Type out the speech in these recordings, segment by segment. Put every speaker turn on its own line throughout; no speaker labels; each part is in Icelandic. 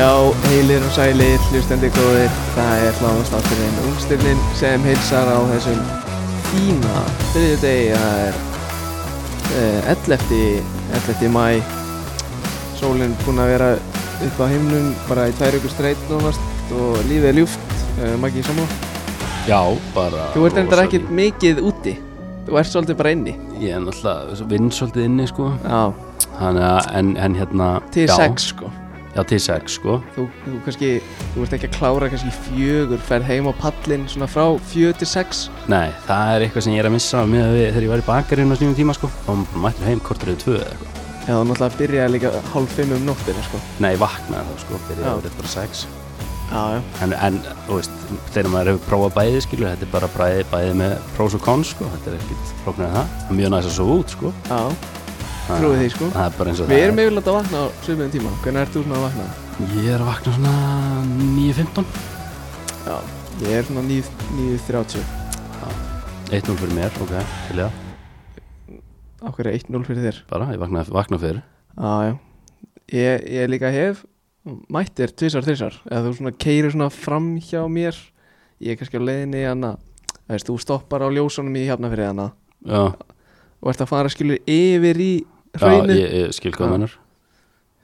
Heilir og sælir, hlustandi góðir, það er hláðastátturinn Ungstirnin sem hilsar á þessum fína þriðju degi, það er eh, 11. 11. mæ, sólinn búin að vera upp á himnum bara í tvær ykkur streit nánast og lífið er ljúft, uh, Maggi Samla.
Já, bara
Þú ert endur
rosa-
ekkert mikið úti, þú ert svolítið bara inni.
Ég er náttúrulega vinn svolítið inni sko
Já,
Þannig að, en, en hérna
til
já,
sex sko.
Já, til sex sko
Þú, þú kannski, þú ert ekki að klára kannski í fjögur, ferð heim á pallinn svona frá fjö til sex.
Nei, það er eitthvað sem ég er að missa með að við, þegar ég var í bakarinn á sínum tíma sko þá var maður bara mættur heim kortur eða tvö eða eitthvað
Já, þú náttúrulega byrjaði líka hálf fimm um nóttina, sko.
Nei, ég vaknaði þá sko, byrjaði
Já.
að vera bara sex
Já, já.
en, en, þú veist, þegar maður hefur prófað bæði skilur þetta er bara bæði, bæði með pros og cons sko þetta er ekkit flóknar en það það er mjög næst að sofa út sko
Já,
Það-
Trúi því, sko.
Það er bara eins og
við
það
erum yfirlega að vakna á sviðmiðum tíma Hvernig ert þú svona að vakna?
Ég er að vakna svona 9.15
Já Ég er svona 9 9.30
1.0 fyrir mér, ok, til ég
Okkur er 1.0 fyrir þér
bara, ég vakna, vakna fyrir
Já, já Ég, ég líka hef mættir tvisar, þrisar Eða þú svona keirir svona fram hjá mér Ég er kannski á leiðinni hana Það veist, þú stoppar á ljósunum í hafna fyrir hana
Já,
Og ert að fara skilur yfir í
já
hraunið
ég, ég skil
Já.
hvað mennur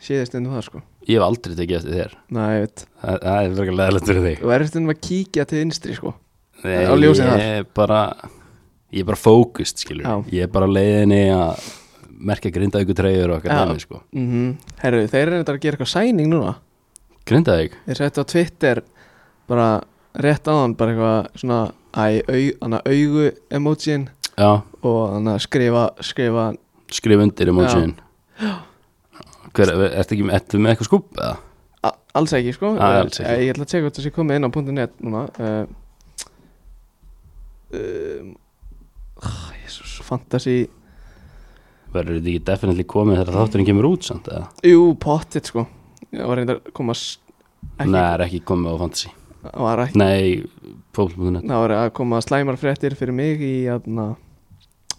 Séðið stundum það, sko
Ég hef aldrei tekið eftir þér
Næ, ég veit
Það, það er verið leðilegt fyrir þig
Þú er stundum að kíkja til vinstri, sko
Nei,
á ljósið
Ég
þar.
er bara Ég er bara fókust, skilur
Já.
Ég er bara á leiðinni að merkja grindaðíku treyjur og
Já.
okkar dæmi, sko
mm Herru, þeir eru þetta að gera eitthvað sæning núna
Grindaðík?
Ég sætti á Twitter bara rétt áðan bara eitthvað svona æ, au, hana, augu emojín
Já,
og hana, skrifa, skrifa
skrif undir emojín Hver, ertu ekki ertu með eitthvað skúb? eða?
a- alls ekki sko
Æ, alls ekki.
Eh, Ég ætla að teka þetta sem komið inn á .net núna uh, um, oh, Jesus, fantasy
Verður þetta ekki definitely komið þegar þátturinn kemur út samt, eða?
Jú, pottit sko Ég var reyndar að koma s- ekki,
Nei, er ekki komið á fantasy
var ekki
Nei, fólk.net
Það voru að koma slæmar fréttir fyrir mig í aðna,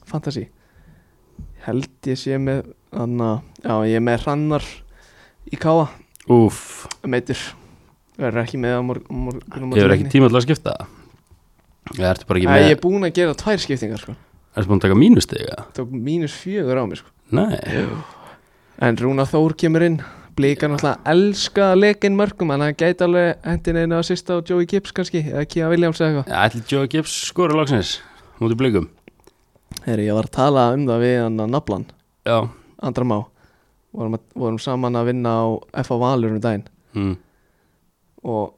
fantasy held ég sé með aðna, já ég er með hrannar í káa
Úff,
meitur verður ekki með á morgun morgun
hefur ekki tíma til að skipta það? Eða ertu bara ekki
Æ,
með
ég er búinn að gera tvær skiptingar sko
Ertu búin að taka mínustega?
tók mínus fjögur á mig sko
Nei,
en Rúna Þór kemur inn blíkar náttúrulega elska leikinn mörgum en hann gæti alveg hendin einu að sista og Joey Gibbs kannski eða Kia Williams eða eitthvað
ætli Joe Gibbs skora loksins Mútið blikum
Heri, ég var að tala um það við hann að naflan
Já
Andra Má vorum, að, vorum saman að vinna á F.A. Valur um daginn
mm.
og,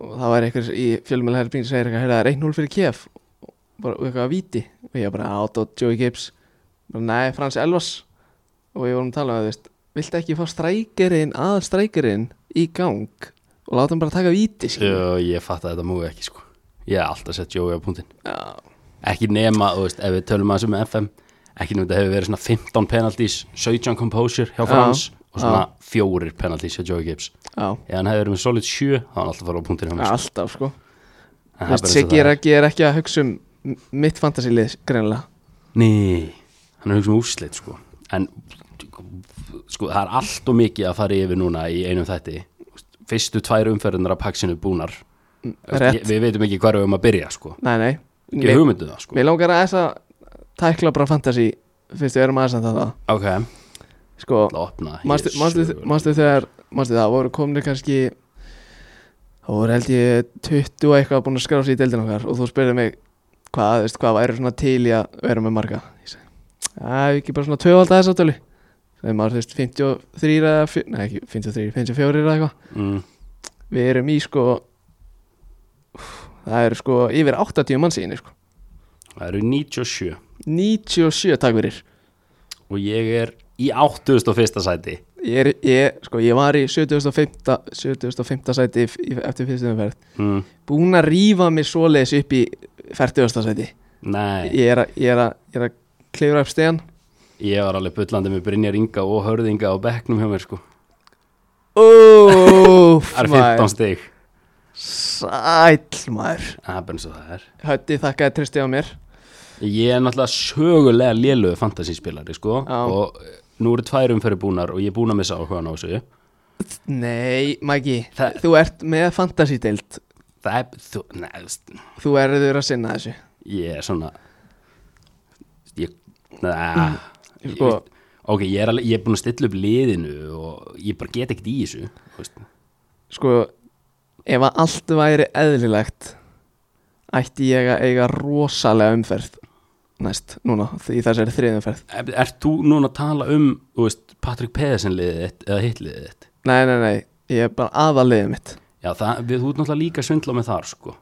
og það var einhver í fjölmjölaherrbrín sem segir eitthvað, heyrðu það er 1-0 fyrir KF og bara og eitthvað að víti og ég bara át og Joey Gibbs bara nei, Frans Elvas og við vorum að tala um það, þú veist viltu ekki fá strækirinn, að strækirinn í gang og láta hann bara taka víti skilurðu?
Jó, Ég fatt að þetta múi ekki sko Ég hef alltaf sett Joey á punktinn
Já,
Ekki nema, þú veist, ef við tölum að þessu með FM Ekki nema þetta hefur verið svona 15 penalties 17 composure hjá
Já.
Frans Og svona
Já.
fjórir penalties hjá Joey Gibbs
já,
Ef hann hefði verið með solid 7 þá hann alltaf farið á punktinn hjá mér, sko.
alltaf sko Þú
En
veist,
það er bara eins og
Siggi
það
er
er.
ekki, er ekki að hugsa um m- mitt fantasilið greinilega
Nei, hann er hugsa um úslit sko En sko, það er allt og mikið að fara yfir núna í einum þætti Fyrstu tvær umferðinar af paksinu búnar
Rétt.
Við veitum ekki hvað við erum að byrja sko
Nei, nei
Ekki hugmyndu það sko
Mér langar að þess að tækla bara fantasy fyrst við erum aðeins að það
Ok,
sko,
það opna
manstu manstu- manstu þegar manstu það, voru komnir kannski þá voru held ég 20 og eitthvað búin að skrá sér í deildin okkar og þú spurði mig hvað, þú veist, hvað væri svona til í að vera með marga ég segi, að ekki bara svona tvövalda þess aftölu þegar maður, þú veist, 53 eða, fjö- nei ekki 53, 54 eða eitthvað
mm,
við erum í sko úff, það eru sko yfir 80 manns í henni sko
Það eru 97
97 takk fyrir
Og ég er í 81. sæti
Ég, er, ég, sko, ég var í 75. 75. sæti f- í- eftir fyrstu umferð
mm,
Búin að rífa mig svoleiðis upp í 40. sæti
Nei,
Ég er að- ég er að- ég er að klifra upp stegan
ég var alveg bullandi með Brynjar Inga og Hörðinga á bekknum hjá mér sko
Úf,
Það eru 15 stig
Sæll, maður
Það er bara eins og það er
Hötti þakkaði tristi á mér
Ég er náttúrulega sögulega lélögu fantasíspilari sko
Já.
og eh, nú eru tvær umferði búnar og ég er búin að missa áhugaðan á þessu
Nei, Maggi,
Það-
þú ert með fantasy-deild
það er, þú, neð, þú veist,
Þú erður að sinna þessu
ég er svona ég, neða ég,
Sko-
veist, ok, ég er, alveg, ég er búin að stilla upp liðinu og ég bara get ekkert í þessu þú veist.
Sko, ef að allt væri eðlilegt Ætti ég að eiga rosalega umferð Næst, núna, í þessari þriðumferð
Er, ert þú núna að tala um þú veist, Patrick Pedersen liðið þitt eða hitt liðið þitt
Nei, nei, nei, ég er bara aðaliðið mitt
já, það, við, þú ert náttúrulega líka að svindla með þar sko.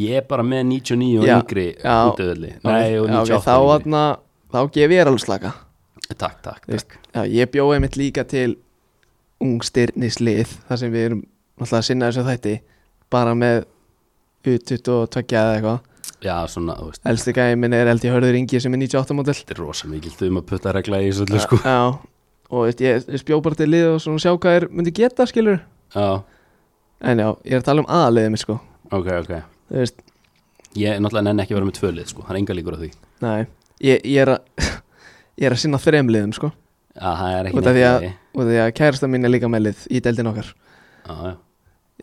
ég er bara með 99 og
Já,
yngri
já,
útöðli nei, og
Já, ok,
98
Þá,
og yngri.
atna, þá gef ég alveg slaka
takk, takk,
Þú veist,
takk.
Já, ég bjóði mitt líka til ungstirnislið þar sem við erum alltaf að sinna þessu þætti bara með U22 eða eitthvað
já, svona, þú veist,
Elsti gæði minn er eldi hörður yngi sem er 98 mótil
þetta er rosa mikil þum að putta regla í þessu öllu, sko.
Já, og veist, ég, ég spjó bara til lið og svona sjá hvað er myndi geta skilur
já,
En já, ég er að tala um aðaliðið mitt sko
ok, ok
Þú veist,
ég er náttúrulega nenni ekki að vera með tvö lið sko. það er enga líkur á því
nei, ég, ég er að ég er að sinna þremliðum sko
Já, það er ekki
Út af því
neitt
að-
í lagi.
og því að kærasta mín er líka með lið í deildin okkar
Já, já.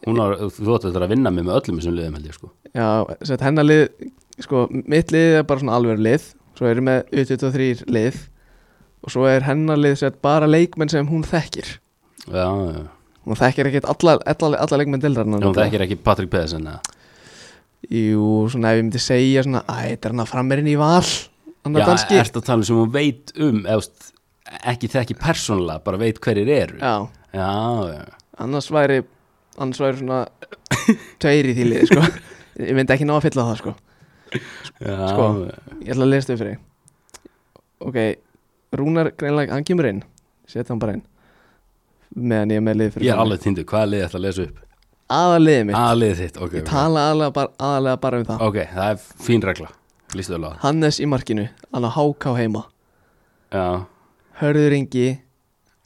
Hún á, þú ætti þetta að vinna mig með öllum þessum liðum held ég sko
Já, sett hennar lið sko, mitt lið er bara svona alveg lið svo erum við U23 lið og svo er hennar lið sett bara leikmenn sem hún þekkir
Já, já,
hún þekkir ekkert alla, alla, alla leikmenn deildarinn
já, hún þekkir ekki Patrik Pedersen eða?
Jú, svona ef ég myndi segja svona, æ, þetta er hann að frammerinn í val hann
Já,
er danski
ertu að tala um sem hún veit um eðust, ekki þekki persónulega, bara veit hverjir eru Já,
Já,
já,
annars væri annars væri svona tveir í því lið, sko ég myndi ekki ná að fylla það, sko
já
Sko. Ég ætla að lesa þau fyrir þig Ok Rúnar greinlega, hann kemur inn Sett hann bara inn Meðan ég er með lið fyrir
Ég er alveg tindu, hvaða lið ætla að lesa upp?
Aða liðið mitt
Aðlið þitt, ok
Ég
ok.
tala aðlega bara, aðlega bara um það
Ok, það er fín regla Lýstu alveg
Hannes í markinu Hann á HK heima
Já,
Hörður Ingi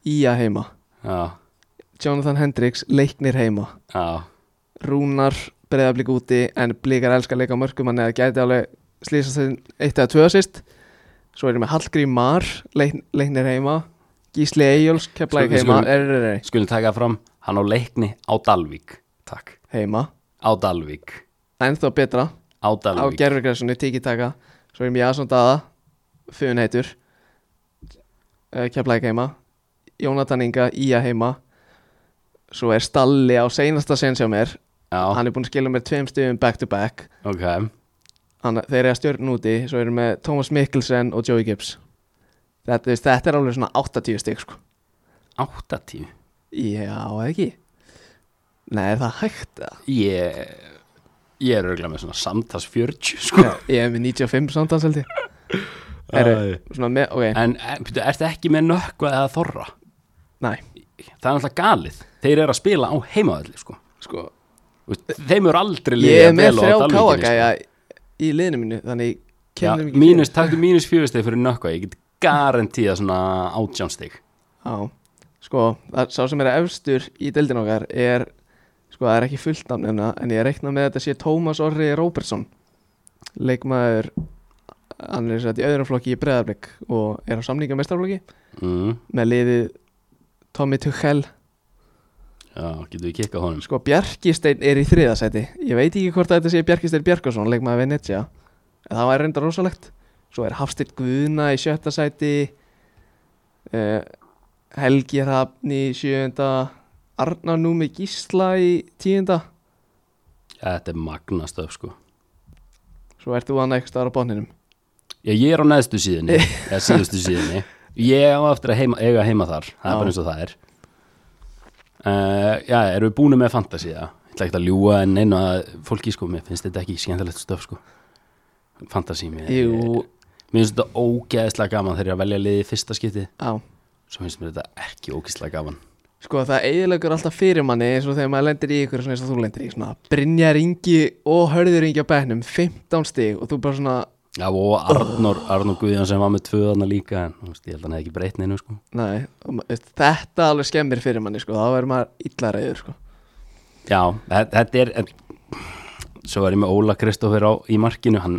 Ía heima
já,
Jonathan Hendricks Leiknir heima
já
Rúnar breyðablík úti En blíkar elskar að leika á mörgum Hann eða gæti alveg slýsast þeim Eitt eða tvö assist Svo erum við Hallgrím Mar leik, Leiknir heima Gísli Eyjóls Keflæk
Skulum-
heima
skulum-
er, er, er,
Skulum taka fram, hann á leikni á Dalvík Takk,
heima
á Dalvík
ennþá betra
Á
á
Dalvík
gerfugræssunni, tiki-taka svo erum ég aðsson daða funheitur keflæk Eh, heima Jónatan Inga, Ía heima svo er Stalli á seinasta sen sem er,
Já,
hann er búinn að skilja mér tveim stöðum back to back
ok
hann, þeir eru að stjórn úti, svo erum við Thomas Mikkelsen og Joey Gibbs þetta, þú veist, þetta er alveg svona 80 stygg sko.
80
já, eða ekki nei, er það hægt eða?
Ég Ég er örgulega með svona samtals 40 sko.
ég er með 95 samtans held ég Heru,
Æ.
svona með, ok,
En er, byrju, ertu ekki með nökkva eða þorra?
næ
Það er alltaf galið Þeir eru að spila á heimaðalli sko.
sko,
Þú veist, Þeim eru aldrei
ég er
liðið
með
vel á
þrjá
Dalvíkinni, sko.
káagæja í liðinu mínu þannig ég
Já,
kemur mikið
mínus, taktu mínus fjögusteg fyrir nökkva Ég get garantíða svona átjánsteg
já, sko, það, sá sem er efstur í deildin okkar er sko, það er ekki fullt nafn hérna en ég reikna með að þetta sé Tómas Orri Róbertsson leikmaður hann er sett í öðrum flokki í breðarblik og er á samninga mestarflokki
mm,
með liðið Tommy Tuchel
Já, getum við kikkað honum
sko, Bjarkistein er í þriðasæti ég veit ekki hvort að þetta sé Bjarkistein Bjarkason leikmaður Venetia en það var reynda rosalegt svo er Hafsteinn Guðna í sjötta sæti uh, Helgi Hrafn í sjöunda Arna Númi Gísla í tíunda
Já, Þetta er magnastöf sko
svo ert þú annað eitthvað staðar á bóninum
Já, ég er á neðstu síðinni Eða síðustu síðinni Ég á eftir að heima, eiga heima þar Það
Já.
er bara eins og það er uh, Já, erum við búinu með fantasía Ég ætla ekki að ljúga en neina Fólki sko, mér finnst þetta ekki skemmtilegt stöf sko Fantasí mér
Jú,
Mér finnst þetta ógeðslega gaman þegar ég er að velja liðið í fyrsta skipti
á
Svo finnst mér þetta ekki ógeðslega gaman
Sko það eiginlegur alltaf fyrir manni eins og þegar maður lendir í ykkur svona eins og þú lendir í svona Brynjar Ingi og Hörður Ingi á bæknum 15 stig og þú bara svona
Já, og Arnór, Arnór Guðján sem var með tvöðana líka En þú veist, ég held að hann hefði ekki breytt neinu sko
Nei, og ma- veist, þetta alveg skemmir fyrir manni sko, þá verður maður illa reyður sko.
Já, þe- þetta er en, Svo er ég með Óla Kristófer á, í markinu Hann,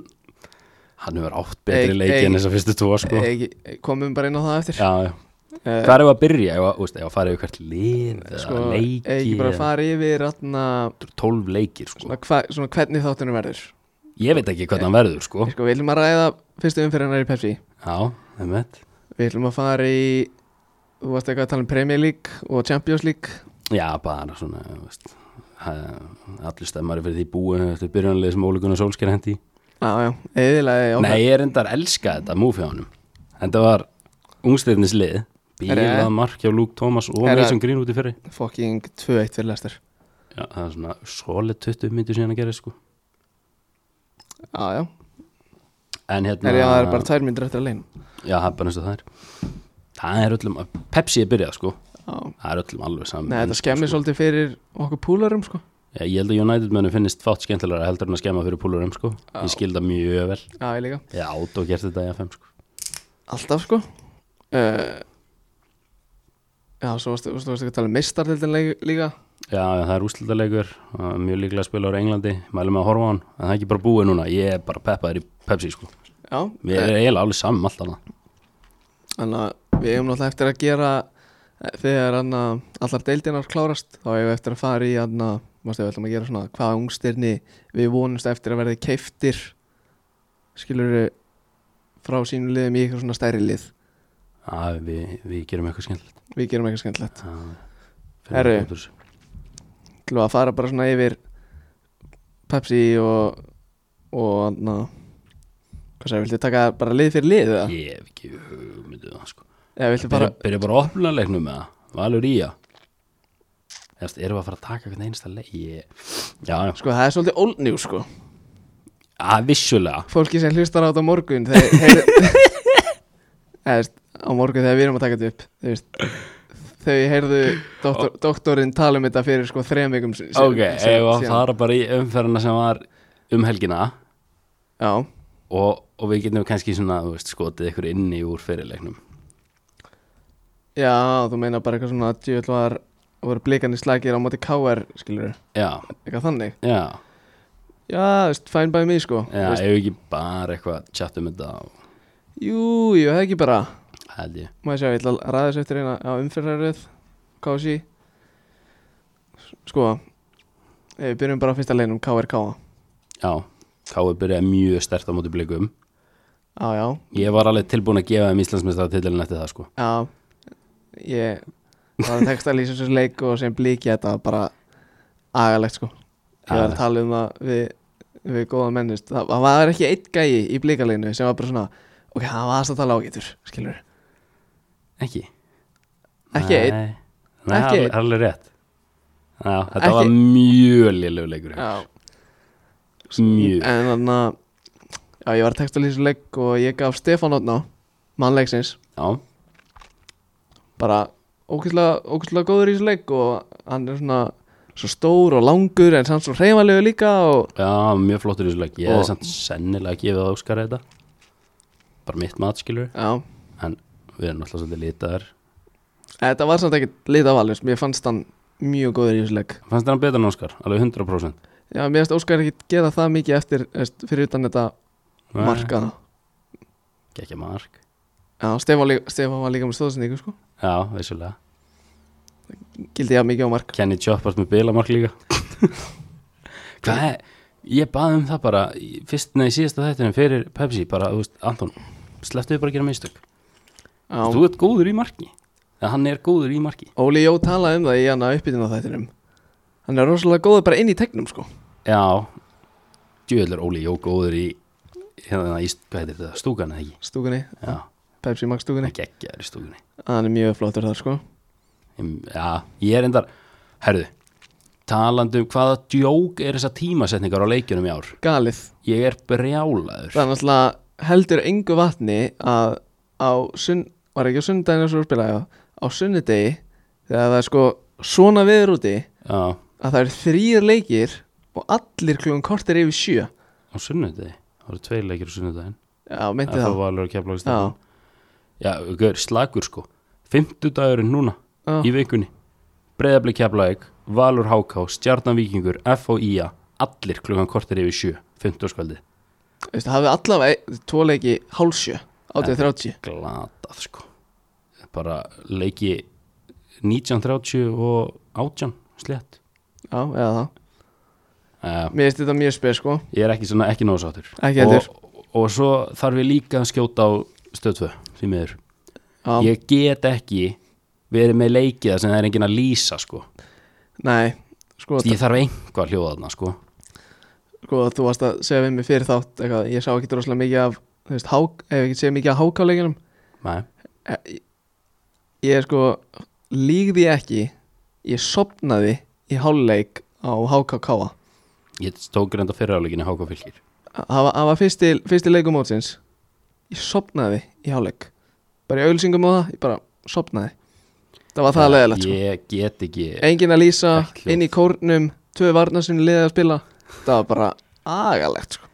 hann hefur átt betri
Ey,
leiki
ey,
en þess að fyrstu tvo sko
Ekki- komum bara inn á það eftir
Já, já
Eh,
Hvað er að byrja? Ég var, ég var að fara yfir hvert lið eða
sko,
leiki
ekki bara
eða-
fara yfir atna,
12 leikir sko.
svona, hva, svona hvernig þáttunum verður
Ég veit ekki hvernig hann verður sko.
sko, við viljum að ræða fyrstu umferðinar í Pepsi
Já, það með
við viljum að fara í þú varst eitthvað að tala um Premier League og Champions League
Já, bara svona þú veist, það- Allir stemmari fyrir því búið Þetta byrjanlega sem Óli Gunnar Solskjær hendi í.
já, já, eðilaði
Nei, ég er endar elska þetta múfi á honum Þetta var ungstirnis lið
Herra.
Bílað mark hjá Luke Thomas og
Herra.
Mason Green út í fyrri
fucking 2-1 fyrir lestar
Já, það er svona solid 20 myndir síðan að gera sko.
já, já,
En hérna
er, já, það er bara tvær myndir eftir að leina
Já, það er bara eins og það er Það er öllum, Pepsi er byrjað sko
já.
Það er öllum alveg saman
Nei, þetta skemmir
sko.
svolítið fyrir okkur púlarum sko.
Já, ég held að United mönnum finnist fátt skemmtilega heldur en að skemma fyrir púlurum sko Ég skil það mjög vel
já, ég líka
Ég átt og gert þetta í FM sko
alltaf sko uh, já, svo varstu, varstu, varstu að tala um mistardildin líka
Já, já, það er úrslitaleikur það er Mjög líklega að spila úr Englandi Mælum með að horfa á hann En það er ekki bara búið núna Ég er bara peppaður í Pepsi sko
já, Eh,
Við erum eiginlega alveg saman um allt annað
Þannig að við eigum náttúrulega eftir að gera eh, þegar anna, allar deildinar klárast þá eigum við eftir að fara í anna, mástu, við ætlum að gera svona hvaða ungstirni við vonumst eftir að verði keiftir skilur við frá sínum liðum í eitthvað svona stærri lið
Já, við, við gerum eitthvað skemmtilegt
við gerum eitthvað skemmtilegt
Já, finnum
Herru.
eitthvað út úr þessu.
ætlum við að fara bara svona yfir Pepsi og og anna, hvað sagði, viltu taka bara lið fyrir lið eða,
Ég hef ekki hugmyndið það sko
eða viltu
bara,
bara
byrja, byrja bara að opna leiknum með það Valur í að Erum við að fara að taka hvernig einasta leik ég... Já, já,
sko það er svolítið old news sko
að vissulega
fólki sem hlustar á þetta á morgun þeir, þeir, eða, veist, á morgun þegar við erum að taka þetta upp þeir, veist, þau heyrðu doktor, doktorinn tala um þetta fyrir sko þrejum vikum sem,
Ok, eða að fara bara í umferðina sem var um helgina
já,
og, og við getum kannski svona, þú veist, skotið ykkur inni úr fyrirleiknum
já, þú meina bara eitthvað svona að djöfull var voru blikarnir slækir á móti KR skilur,
Já,
eitthvað þannig
já,
já, þú veist, fine by me sko
já
Þú veist,
ef ekki bara eitthvað tjátt um þetta og
jú, jú, það er ekki bara
held ég
maður sjá, ég ætla að ræða þessu eftir eina á umfyrraröð KSI sko ef við byrjum bara á fyrsta leinum KRK
Já, Káði byrjaði mjög stert á móti blikum
já, já,
Ég var alveg tilbúin að gefa þeim Íslandsmeistar eftir það sko
Já Ég var að texta lýsa þessu leik og sem blíki þetta var bara agalegt sko Ég var að
Agalegt.
tala um það við, við góða mennist það, það var ekki einn gæi í blíkaleginu sem var bara svona ok, hann var aðstæðala ágætur, skilur
Ekki
Ekki
Nei.
einn.
Nei,
Ekki
það er
einn.
alveg rétt Já, þetta
Ekki-
var mjög lélegu leikur hjá
Já,
ykkur. Mjög
en þannig að já, ég var að texta lýsa þessu leik og ég gaf Stefán Otná, mannleiksins
Já,
bara ókvæslega, ókvæslega góður í þessu leik og hann er svona svo stór og langur en samt svo hreifalegu líka og
já, mjög flottur í þessu leik Ég
Og-
hefði samt sennilega gefið að Óskar þetta Bara mitt mat skilur
já,
En við erum alltaf svolítið litaðar
Þetta var samt ekkert lit af alveg, mér fannst hann mjög góður í þessu leik.
Fannst þér hann betur en Óskar? Alveg 100%
Já, mér finnst Óskar ekkert gera það mikið eftir, veist, fyrir utan þetta markaða.
Gekki mark
Já, Stefán, lí- Stefán var líka með stóðsendingu, sko.
Já, vissulega
Gildi ég mikið á mark.
Kenny Choppart með bilamark líka Hvað er? Ég baði um það bara í Fyrst, nei, síðasta þættinum fyrir Pepsi Bara, þú veist, Anton Slepptu við bara að gera meistök
Já,
Þú ert góður í marki Eða hann er góður í marki
Óli Jó talaði um það í hann að uppbytun á þættinum. Hann er rosalega góður bara inn í tegnum, sko.
Já Djöðlur Óli Jó góður í hérna í, hvað heitir þetta, stúkan eða ekki
Stúkunni,
Já,
Pepsi Max
hann
stúkunni.
er geggjaður í stúkunni
Hann er mjög flottur þar, sko.
Em, Já, ég er endar Herðu, talandi um hvaða djók er þessa tímasetningar á leikjunum í ár
Galið.
Ég er brjálaður
Það er náttúrulega heldur engu vatni að á sunn, var ekki á sunnudaginu svo spilaði á, á sunnudegi þegar það er sko svona viður úti
Já,
að það eru þrýr leikir og allir klugum kortir yfir sjö
á sunnudegi Það voru tveir leikir á sunnudegin
Já, meinti
Það
það
var alveg að kefla
Já,
Já, gaur, slagur sko Fimmtudagurinn núna
Já.
í vikunni Breiðabli Keflavík, Valur HK, Stjarnan Víkingur, FOIA Allir klukkan kortir yfir sjö, fimmtudagskvöldið
e- veistu, hafið allavega tvo leiki hálsjö, 8.30
glatað sko bara leiki 1930 og 18 slett
Já, eða það
uh,
Mér finnst þetta mjög spes sko
ég er ekki, svona, ekki nógu sáttur
Ekki
og,
heldur.
og svo þarf ég líka að skjóta á stöðtvö því miður
Já,
ég get ekki verið með leikiða sem það er enginn að lýsa sko.
Nei, sko,
ég þarf einhvað hljóðaðna sko.
sko þú varst að segja við mig fyrir þátt eitthvað, Ég sá ekki droslega mikið af Þú veist, hák, ef ekki segja mikið af hákáleikinum
Nei.
Ég er sko, lígði ekki Ég sopnaði í hálfleik á HKK
ég tók reynda fyriráleginni háka fylgir
Það var- það var fyrsti, fyrsti leikum mótsins Ég sopnaði í hálfleik Bara í auðlýsingum og það, ég bara sopnaði Það var það leðilegt sko
ég get ekki
Engin að lýsa,
Ekki hljóð.
inn í kórnum Tvö varnar sem liðið að spila Það var bara agalegt sko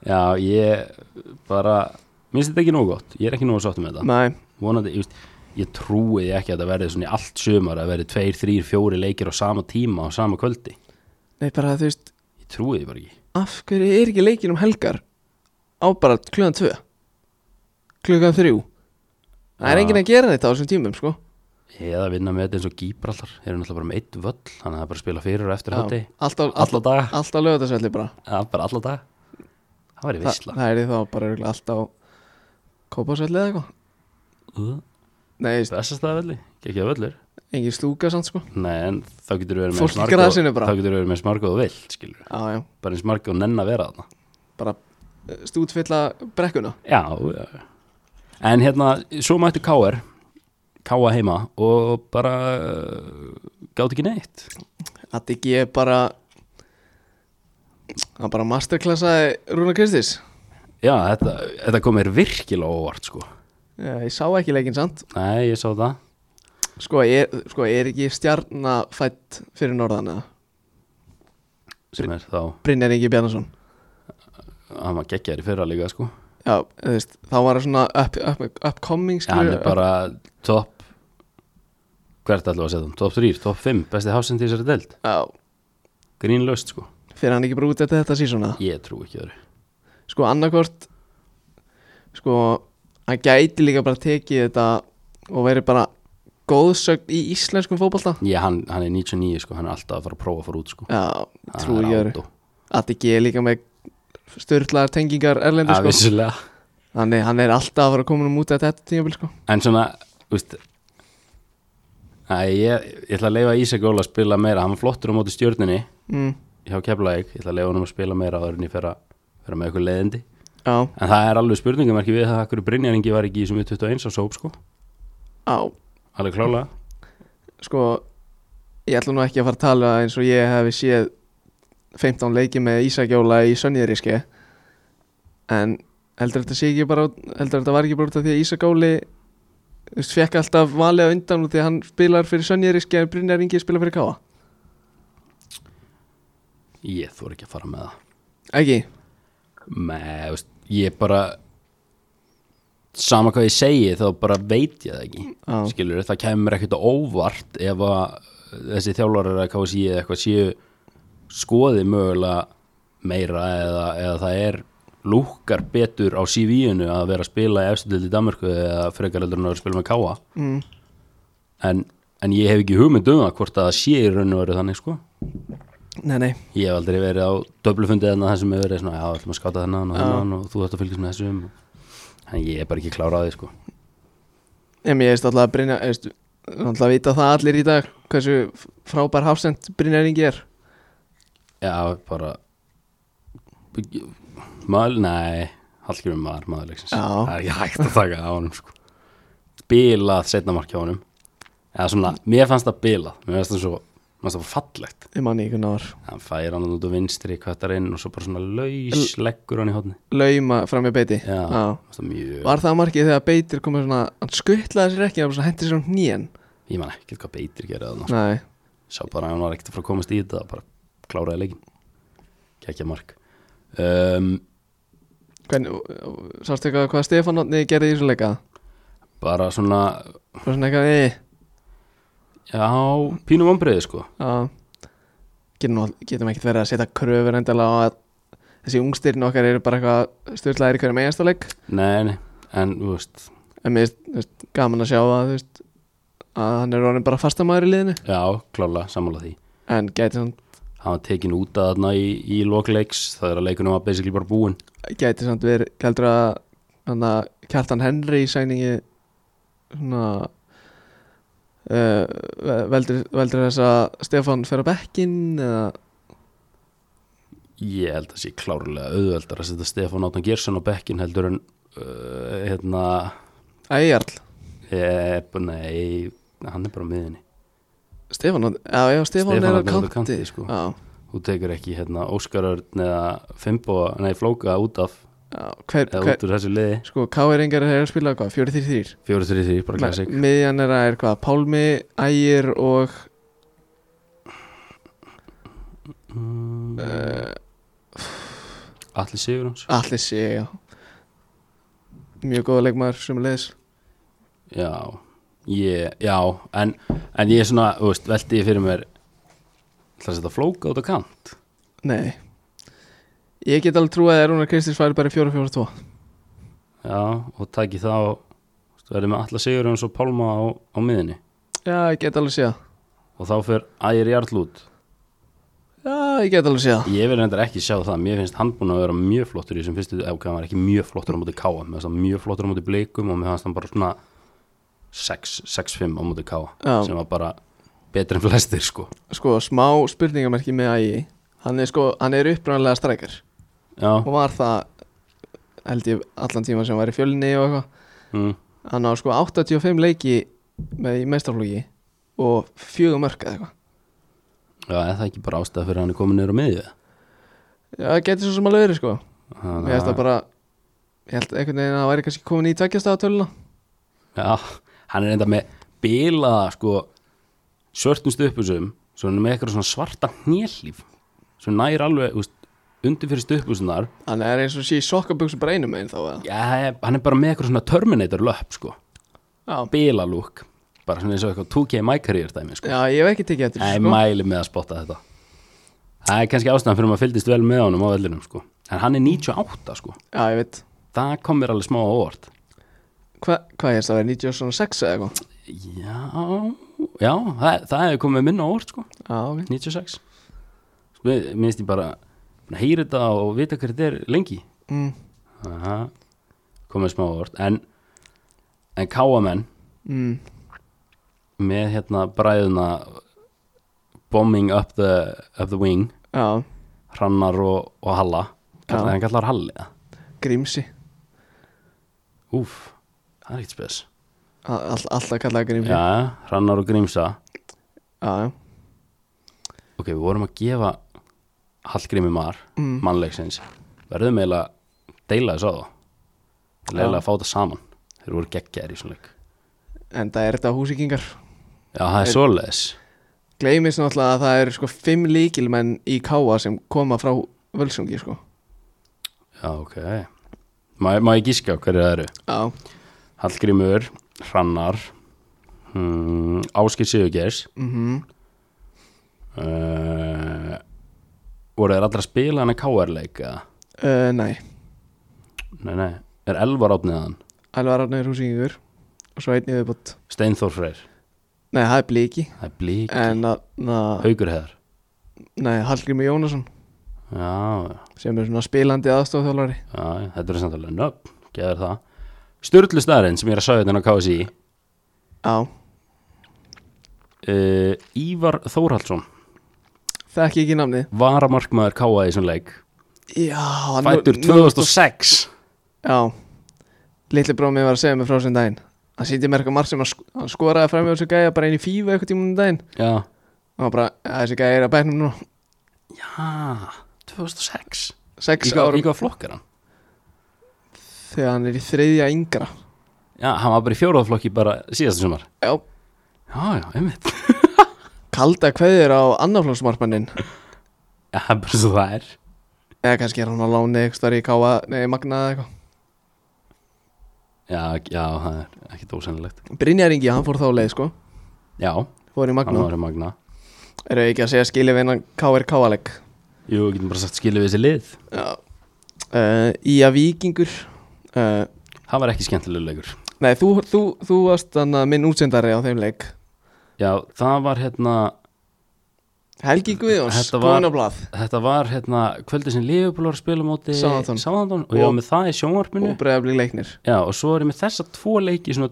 já, ég bara mér finnst þetta ekki nógu gott, ég er ekki nógu sáttur með þetta
Nei,
vonandi, ég, veist, ég trúi því ekki að þetta verði svona í allt sumar að verði tveir, þrýr, fjóri leikir á sama tíma á sama kvöldi
nei bara þú veist
ég trúi því bara ekki
af hverju er ekki leikin um helgar á bara klukkan 2 klukkan 3 það er
Ja.
enginn að gera þetta á þessum tímum sko
eða vinna með þetta eins og Gíbrallar þeir eru náttúrulega bara með eitt völl þannig að það er bara að spila fyrir og eftir
Já,
hátti
alltaf,
alla
alltaf,
dag,
alltaf lögðarsvelli bara
eða bara alla dag það væri
Þa,
veistla
það er þá bara örugglega alltaf kópásvelli eða eitthvað nei, veist,
Bessastæðavelli, ekki að völlur
engin slúka samt sko
Nei, en þá getur þú verið með
Fólk í
smarga-
grasinu bara.
Þá getur þú verið með smarga og vill, skilur
já, já,
Bara eins marga og nenn að vera þarna
bara eh, stútfylla brekkuna
Já, já En hérna, svo mættu K.R. K.A. heima og bara uh, gátt ekki neitt
að ekki ég bara hann bara masterklassaði Rúna Kristis
Já, þetta, þetta kom mér virkilega á óvart, sko
ég, ég sá ekki leikin samt
Nei, ég sá það
sko, er, sko, er ekki stjarnafætt fyrir norðan eða
sem er þá,
Brynjar Ingi Bjarnason
hann var geggjær í fyrra líka, sko
Já, þú veist, þá var það svona up, up, upcoming
Já, hann
skilur
er bara topp Hvert ætlum við að setja hann? Topp 3, topp 5, besti hásinn til þessari deild
Já,
Grínlaust, sko
fyrir hann ekki bara út eftir þetta sísona
Ég trú ekki öðru
Sko, annarkvort Sko, hann gæti líka bara tekið þetta og verið bara góðsögn í íslenskum fótbolta
Já, hann, hann er 99 sko, hann er alltaf að fara að prófa að fara út sko
Já, ég
Hann
trú
er
ég eru
átó.
Að ekki er líka með störtlaðar tengingar
Já,
erlendur sko
vissulega
Þannig hann er alltaf að fara að koma um út eftir þetta tímabil sko
En svona, þú veist Æ, ég, ég ætla að leifa Ísak Óla að spila meira Hann var flottur á móti stjórninni
mm,
hjá Keflavík, ég ætla að leifa hann að spila meira áður en ég fer að vera með eitthvað leiðindi
Já,
En það er alveg spurningamarki við það Akkur Brynjaringi var ekki í þessum 21 á sóp sko
á,
Alveg klálega
sko ég ætla nú ekki að fara að tala eins og ég hef séð 15 leiki með Ísakjóla í Sönniðríski en heldur þetta sé ekki bara heldur þetta var ekki bara út af því að Ísakjóli veist, fekk alltaf valið á undan út því að hann spilar fyrir Sönniðríski en Brynjar Ingi spilar fyrir Káa
Ég þór ekki að fara með það
ekki,
Nei, þú veist, ég bara sama hvað ég segi þá bara veit ég það ekki
Já.
skilur, það kemur ekkert á óvart ef að þessi þjálfarar að KSI eða eitthvað séu skoði mögulega meira eða, eða það er lúkar betur á CV-inu að vera að spila í efstu deild í Danmarku eða frekar heldur en að vera að spila með Káa
mm,
en, en ég hef ekki hugmynd um það hvort að það sé í raun og veru þannig sko
nei nei
Ég hef aldrei verið á döblufundi þarna þar sem hefur verið svona, já, ætlum að skáta þennan og þennan og þú ætti að fylgjast með þessum en ég er bara ekki klárað því, sko
en ég veist alltaf að Brynjar ég veist, alltaf vita það allir í dag hversu frábær hafsend Brynjar Ingi er
Já, bara maður, nei Hallgrímur maður, maður leiksins
Já.
Það er ekki hægt að taka á honum, sko Bilað setna marki á honum eða svona, mér fannst það bilað mér fannst það svo, mér fannst það fallegt
ég manni ekki hvernig það
hann fær hann út á vinstri, kvættar inn og svo bara svona laus, leggur hann í hodni
var lauma fram í beiti
Já,
Já.
mér fannst það mjög
Var það markið þegar Beitir komið svona hann skuttlaði sér ekki, hann bara hendi sér um nýjan
ég man ekki hvað beitir gerði þarna,
Nei,
sá bara að hann var ekkert að fara að komast í þetta bara kláraði leikin kækja mark um,
hvernig, sástu eitthvað hvað Stefán Otni gerði í þessum leika
bara svona
Bara svona eitthvað, "Eh, ei,
já, pínum ombriði sko
já getum, nú- getum ekkert verið að setja kröfur endilega á að þessi ungstyrn okkar eru bara eitthvað styrlaðir í hverjum eigastaleg
nei, nei, en þú veist
en mér finnst, þú veist, gaman að sjá að, þú veist, að hann er orðin bara fastamæður í liðinu
já, klála, sammála því
en gæti, samt,
hann var tekin út að þarna í, í lokleiks það er að leikunum var basically bara búinn
gæti samt verið heldur að hann að Kjartan Henry í sæningi svona uh, veldur, veldur þess að Stefan fer á bekkinn eða
ég held að sé klárlega auðveldar að setja Stefán Áttan Gersson á bekkin heldur en uh, hérna
Æjarl
eh, b- nei, hann er bara á miðinni
Stefán, Oddi- já, já, Stefán,
Stefán
er á
Oddi er á
kanti,
kanti, sko.
já,
þú tekur ekki hérna Óskarörn eða Fimbo, nei Flóka út af
já, hver,
eða
hver
út úr þessu liði
sko, K.R. Ingar er að spila hvað, 4-3-3
4-3-3, bara
Me-
klassik
miðjan er að er hvað, Pálmi, Ægir og
mm,
uh,
Allir sigur hans
allir sé, já mjög góða leikmaður sem er leiðis
Já, ég, já en, en ég er svona, þú veist, velti ég fyrir mér ætla að setja flóka út á kant
nei ég get alveg trúið að Rúnar Kristins færi bara í 4-4-2
Já, og taki þá þú veist, verði með alla sigur hans og pálma á, á miðinni
já, ég get alveg séð það.
og þá fer ægir jarl út
já, ég get alveg séð það.
Ég vil reyndar ekki sjá það, mér finnst hann búin að vera mjög flottur í þessum fyrstu, ef hann var ekki mjög flottur á móti káa, mér finnst hann mjög flottur á móti blikum og mér finnst hann bara svona 6, 6-5 á móti káa
Já.
sem var bara betri en flestir sko
sko, smá spurningamerki með Ægi hann er sko, hann er uppræðanlega strækar
Já,
og var það held ég allan tíma sem var í fjölinni og eitthvað
mm,
hann á sko 85 leiki með í meistarflóki og fjögum mörk eða eitthvað
já er það ekki bara ástæða fyrir að hann er komin niður á miðju
já, það getur svo sem alveg verið sko ég
Þannig
held
að-
það bara ég held einhvern veginn að það væri kannski komin í tveggjastaðatöluna
Já, hann er enda með bilaða sko svörtum stöpusum svo hann er með eitthvað svona svarta hnélíf sem nær alveg úst, undir fyrir stöpusunar
hann er eins og sé í sokkaböksum bara einum einn þá eða
Já, hann er bara með eitthvað svona Terminator löpp sko,
já,
bilalúk bara svona eins og eitthvað 2K My Career dæmi sko.
já ég hef ekki tekið eftir
Nei,
þessu, sko.
mæli með að spotta þetta Það er kannski ástæðan fyrir maður fylgdist vel með honum á vellinum sko, en hann er 98 sko,
já, ég veit
það kom mér alveg smá á óvart
Hva, hvað er það, 96 eða eitthvað
Já, já, það, það hefur komið minna á óvart sko
já, ok
96 Sko, mér mér finnst ég bara búin að heyra þetta og vita hvað þetta er lengi
mm,
Aha, komið smá vort en, en káamenn
mm,
með hérna bræðuna bombing up the, up the wing
já,
hrannar og, og Halla kallar,
Já.
hann kallar Halli það.
grímsi
Úf, það er ekkert spes
A- all, alltaf kallaði grímsi já,
Já, hrannar og grímsa
já,
Ok, við vorum að gefa Hallgrími Mar,
Mm.
mannleiksins verðum eiginlega að deila þess á það Þeir
Já.
eiginlega að fá þetta saman þeir voru geggjæri í svona leik
en það er þetta húsíkingar
Já, það er svoleiðis
gleymis náttúrulega að það eru sko fimm líkilmenn í káa sem koma frá völsungi sko
Já, ok Má, má ég gíska á hverju það eru
já,
Hallgrímur, Hrannar hmm, Áskil Sigurgeirs
mhm
uh, voru þeir allra að spila hann að KR-leik eða?
uh, nei,
Nei, nei, er Elvar átniðan
Alvar Arnur húsíkingur og svo einn í viðbútt
Steinþór Freyr,
nei, það er blíki
það er blík
en að, na,
Haugurheðar
nei, Hallgrími Jónasson
Já, já
sem er svona spilandi aðstofþjólari
Já, já, þetta er samt alveg nöfn, geður það Sturlu staðarinn sem ég er að sagði þetta á KSI
Já,
uh, Ívar Þórhaldsson
þekki ekki namni
varamarkmaður KA í svona leik
Já, hann
Fætur
nú-
2006
Já, litli bróð mér var að segja mig frá þessum daginn Hann sýndi mér eitthvað marg sem hann sk- hann skoraði fram í þessu gæja bara inn í fífa eitthvað tímunum daginn
Já,
og hann bara, "Ja, þessi gæja er að bæknum nú
já 2006
sex
Í hvað-
árum
í hvað flokkar hann?
þegar hann er í þriðja yngra
Já, hann var bara í fjóraðflokki bara síðasta sumar
Já,
Já, já, einmitt
kalda kveðir á annaflósmarpannin
Já, það er bara svo það er
eða kannski er hann á láni eitthvað starf í káa nei, magna eða eitthvað
Já, já, það er ekkit ósennilegt
Brynjar Ingi, hann fór þá leið sko
Já,
fór í
hann
magna
var í Magna
eru ekki að segja skilja við hennan káir káaleg
Jú, við getum bara sagt skilu við þessi lið
Já uh, Ía Víkingur Eh, uh,
Það var ekki skemmtilegur leikur
Nei, þú, þú, þú varst þannig minn útsendari á þeim leik
já, það var hérna
Helgi Guðjóns,
Þetta var-
komin á blað
þetta var hérna kvöldi sem Liverpool var að spila á móti
Southampton.
Southampton og ég var
Og-
með það í sjónvarpinu
og bregðaflik leiknir
já, og svo er ég með þessa tvo leiki svona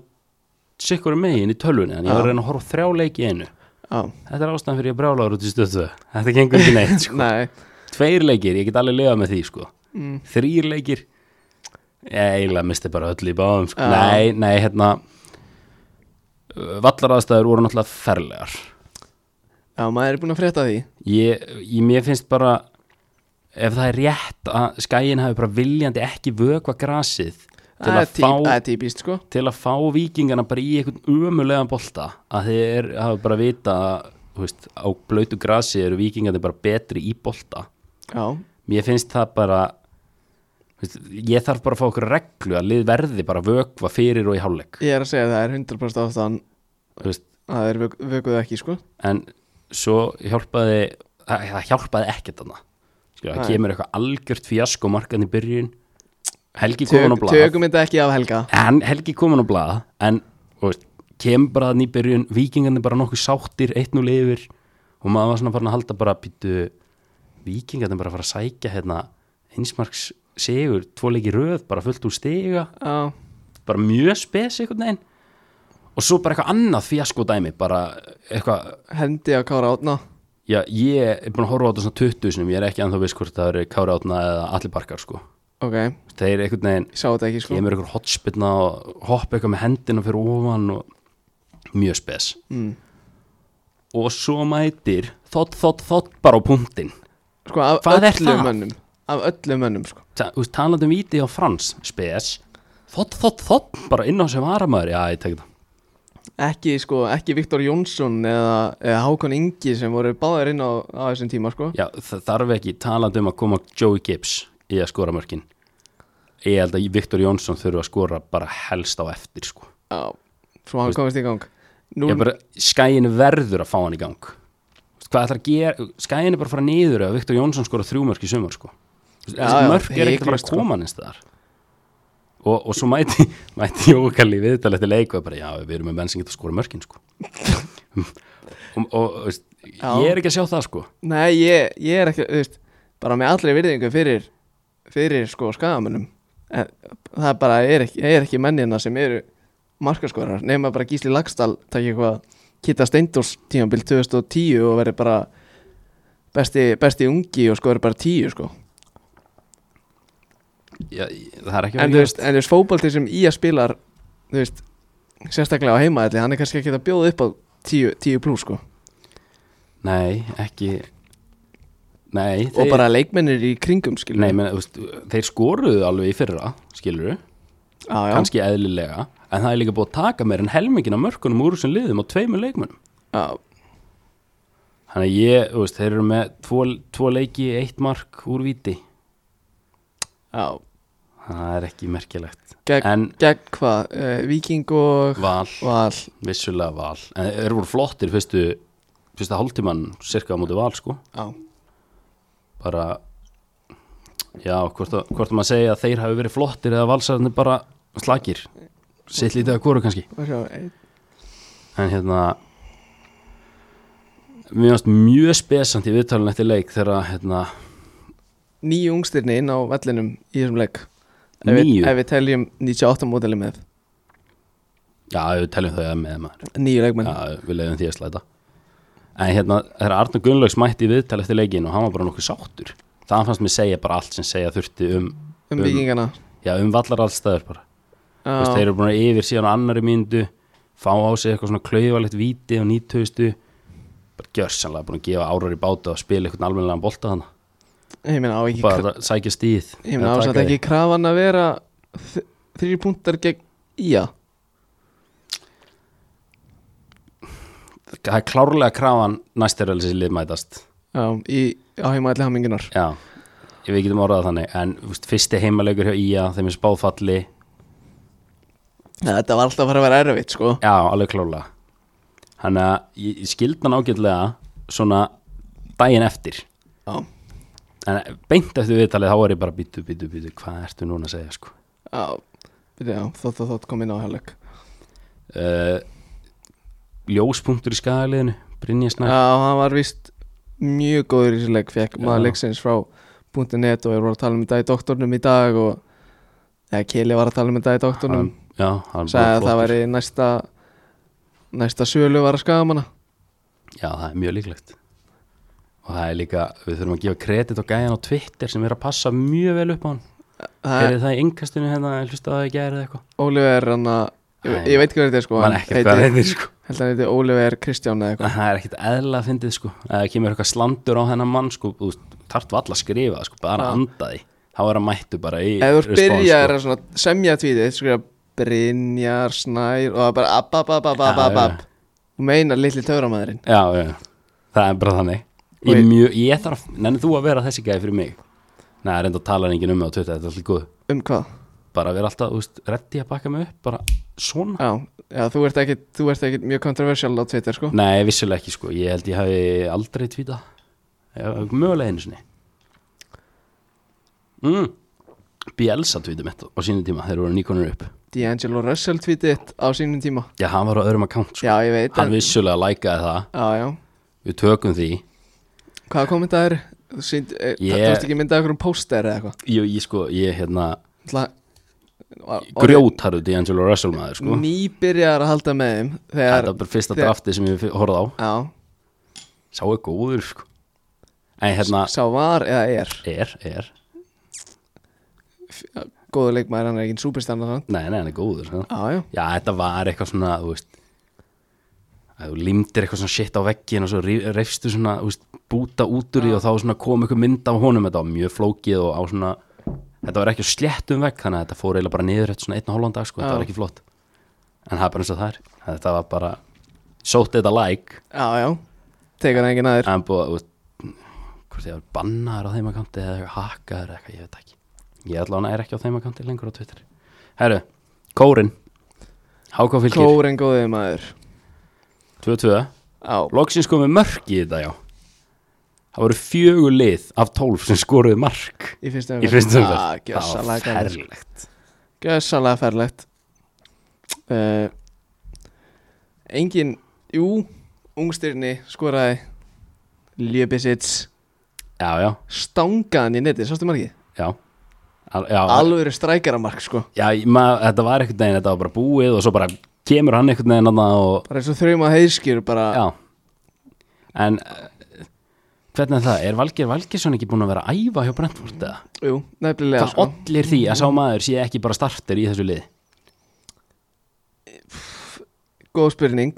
sikkur megin í tölvunni þannig ég var að reyna að horfa á þrjá leiki í einu
Já,
þetta er ástæðan fyrir ég brjálagur út í stöðu þetta gengur ekki neitt sko.
nei,
tveir leikir, ég get alveg lifað með því sko.
Mm.
þrýr leikir ég eiginlega misti bara öll í báðum sko.
Já.
nei, nei, hérna vallaraðstæður voru náttúrulega ferlegar
já, maður er búin að frétta því
ég, ég, mér finnst bara ef það er rétt að skæin hafi bara viljandi ekki vökva grasið til
Það
að,
er tí- það
fá,
er típist, sko
til að fá vikingana bara í einhvern umulegan bolta að þeir hafi bara vita að þú veist, á blöytu grasi eru vikingandi bara betri í bolta
Já,
mér finnst það bara þú veist, ég þarf bara að fá okkur reglu að lið verði bara að vökva fyrir og í hálfleik
ég er að segja það er 100% ástæðan
þú veist,
að þeir vök- vökuðu ekki, sko
en svo hjálpaði það, það hjálpaði ekkert þarna Skilja, það
Nei.
kemur eitthvað algjört fjasko markan í byrjun Helgi komin á
Tök,
blað
Tökum þetta ekki af Helga
en Helgi komin á blað en þú veist, kemur bara þannig í byrjun vikingarnir bara nokkuð sáttir, 1-0 yfir og maður var svona farin að halda bara býtu, vikingarnir bara að fara að sækja hérna, einsmarks sigur, tvo leiki röð, bara fullt úr stiga
Já,
bara mjög spes einhvern veginn og svo bara eitthvað annað fjasko dæmi bara eitthvað,
hendi á Kára Átna
já ég er búin að horfa á þetta svona 20 sinum, ég er ekki anþá viss hvort það eru Kára Átna eða allir barkar sko
Ok,
þeir einhvern veginn,
ég sá þetta ekki, sko
kemur einhver hotspilna og hoppa eitthvað með hendina fyrir ofan og mjög spes
mm.
og svo mætir þott, þott, þott bara á punktin
Sko, af
Hvað er
öllum
það?
mönnum Af öllum mönnum, sko
Ta, þú veist, talandi um víti á Frans spes, þott, þott, þott bara inn á sem varamæður, já ég tek það
Ekki, sko, ekki Viktor Jónsson eða, eða Hákon Ingi sem voru báðir inn á, á þessum tíma, sko
Já, það þarf ekki talandi um að koma Joey Gibbs í að skora mörkin Ég held að Viktor Jónsson þurfa að skora bara helst á eftir sko.
Já, svo hann
Veist-
komist í gang Nú,
Ég bara, skæin verður að fá hann í gang Þú veist, Hvað ætlar að gera Skæin er bara að fara niður ef Viktor Jónsson skora þrjú mörk í sumar sko. Þú veist,
Já,
Þessi
já,
mörk er ekkert að fara
hiklaust,
að
sko.
koma hans þar og, og svo mæti mæti Jókali viðtalið til leiku og bara, já, við erum með menn sem geta að skora mörkin sko. og, og, og þú veist,
Já.
ég er ekki að sjá það sko.
nei, ég, ég er ekki, þú veist Bara með allri virðingu fyrir Fyrir, sko, skagamönnum En Það er bara, ég er ekki, ég er ekki mennina sem eru Markaskorar, nema bara Gísli Lagstall Takk eitthvað, Kitta Steindors Tímabil 2010 og verði bara Besti, besti ungi Og sko er bara 10, sko
já, ég- það er ekki
En
að vera
þú
gerast.
veist, en þú veist, fótbolti sem í að spilar Þú veist, sérstaklega á heimaðli Hann er kannski ekki að bjóða upp á 10, 10 plus, sko
Nei, ekki Nei,
Og bara leikmennir í kringum, skilur
Nei, menn, veist, þeir skoruðu alveg í fyrra skilur
Já, já.
kannski eðlilega en það er líka búið að taka meir en helmingin af mörkunum úr þessum liðum á tveimur leikmönnum
Já,
Þannig að ég, þú veist, þeir eru með tvo, tvo leiki, eitt mark úr viti
já.
það er ekki merkilegt
Gegn,
en
gegn hvað? Uh, Víking og
val,
Val
vissulega val en þeir voru flottir fyrstu fyrsta hálftíman, cirka á móti val sko
Já,
bara já, hvort, að- hvort að maður segja að þeir hafi verið flottir eða valsararnir bara slakir sitt lítið að kóru kannski
og sjá einn.
en hérna mér varst mjög spesant í viðtalun eftir leik þegar hérna,
Nýju ungstirni inn á vellinum í þessum leik Ef við-
nýju
Ef við teljum 98 mótali með
já, við teljum þau að með maður
Nýju leikmenn
já, við leiðum því að slæta en hérna, þegar Arnur Gunnlaugs mætti í viðtal eftir leikin og hann var bara nokkuð sáttur það fannst mér segja bara allt sem segja þurfti um
um
um-
vikingana
já, um vallar allstæður bara Þú veist,
Já,
þeir eru búin að yfir síðan á annari myndu fá á sig eitthvað svona klauvalegt víti og nýtöðustu bara gjörsanlega búin að gefa árar í báta og spila eitthvað alveglega bolta þannig
ég meina á ekki
bara að sækja stíð
Ég meina á satt ekki krafan að vera þ- Þrýr punktar gegn Ía
það er klárlega krafan næstir að þessi lið mætast
Já, í, á heimaðli hamingunar
já, ég við getum orðað það þannig en þú veist, fyrsti heimalegur hjá Ía þeim er spáðfalli,
Þetta var alltaf að fara að vera erfitt, sko
já, alveg klárlega hann að ég, ég skild mann ágætlega svona daginn eftir
Já,
en beint eftir viðtalið þá er ég bara býtu, býtu, býtu, hvað ertu núna að segja sko
já, byrja, já, þótt og þótt kom inn á hálfleik
uh, ljóspunktur í skagaliðinu Brynja
Já,
Snær
hann var vist mjög góður í þessu leik fekk
Já.
maður leiksins frá .net og ég var að tala um þetta í doktornum í dag og eða Kili var að tala um þetta í doktornum
Hann- já, hann
sagði að það
flottur.
væri næsta næsta sölu var að skafa manna
Já, það er mjög líklegt og það er líka, við þurfum að gefa kredit og gæðan á Twitter sem er að passa mjög vel upp á hann
Það
er
er
það í yngkastinu hérna, hlusta það í gerð eitthvað
Oliver hann að ég,
Æ,
ég veit hvað þetta er sko
mann
hann
ekki hvað
heitir-
reyðir sko
held að hann heiti Oliver Kristján eða eitthvað
það er ekkit eðla að fyndið sko eða það kemur eitthvað slandur á hennan mann sko þú veist, þarft valla að skrifa það, sko, bara
Já.
andaði þá er að mættu bara í sko.
Ef þú
respons,
byrjar að svona semja tvítið skrifa Brynjar, Snær og það bara app, app, app, app, app,
Já,
app,
já.
app og meina litli töframæðurinn
já, já, já, það er bara þannig
Og
ég,
ég-
mjög, ég þarf, nenni þú að vera þessi gæði fyrir mig Nei, reynda að tala enginn um mig á Twitter, þetta er alltaf góð
um hvað?
bara vera alltaf, þú veist, reddi að bakka mig upp bara svona
Já, já þú, ert ekkit, þú ert ekkit mjög kontroversial á Twitter sko
Nei, vissulega ekki sko, ég held ég hafi aldrei tvítað Ég- Mögulega einu sinni mm. Bielsa tvítið mitt á sínum tíma þegar voru nýkonur upp
D'Angelo Russell tweetið þitt á sínum tíma
Já, hann var á öðrum account sko.
Já, ég veit
Hann
en-
vissulega lækaði það,
Já, já
við tökum því
Hvaða kommentaðir? Þú sínd, yeah.
Ég-
það, þú veist ekki myndað okkur um póster eða eitthvað
Ég, ég sko, ég hérna
Ætla- var-
Grjótarðu D'Angelo Russell maður sko
Nýbyrjar að halda með þeim
Þetta
Þegar,
var bara fyrsta
þegar-
drafti sem ég horfði á
já,
Sá er góður sko En hérna,
sá var eða er
er, er
Góðu leikmaður, hann er ekki súpistanna þannig
Nei, nei, hann er góður sko.
Já, já,
Já, þetta var eitthvað svona, þú veist að þú limdir eitthvað svona shit á veggin og svo ríf- reifstu svona, þú veist, búta út úr því og þá svona kom eitthvað mynd af honum þetta var mjög flókið og á svona þetta var ekki á sléttum vegg, þannig að þetta fór eiginlega bara niður eftir svona einn og hálfan dag, sko,
Já.
þetta var ekki flott en það er bara eins og það er, þetta var bara sótt þetta like
já, já Tekur hann enginn aður
en búið, þú veist hvort ég var bannaður á þeim akanti eða eitthvað hakaður eða eitthvað, ég veit ekki ég allan er ekki á þeim akanti lengur á Twitter Herru, Kórin Háká fylgir
Kóren góðið maður
2-2
Já,
Loksins komið mörk í þetta já Það voru fjögur lið af tólf sem skoruðu mark
í fyrstu
í fyrstu umferð
Já,
Það var
gjössalega Ah, gaman.
ferlegt
Gjössalega ferlegt uh, Engin Jú, ungstyrni skoraði Ljöbisits
Já, já,
Stangaðan í neti, sástu margið?
já Al, Já,
Alvöru strækaramark sko
já mað, þetta var einhvern veginn, þetta var bara búið og svo bara kemur hann einhvern veginn annað og
Bara eins og þrjum að heiðskýr bara
já En eh, hvernig er það? Er Valgeir Valgeirsson ekki búin að vera að æfa hjá Brentford eða?
Jú, nefnilega
Hvað
sko
ollir því að sá maður sé ekki bara starter í þessu liði?
Góð spurning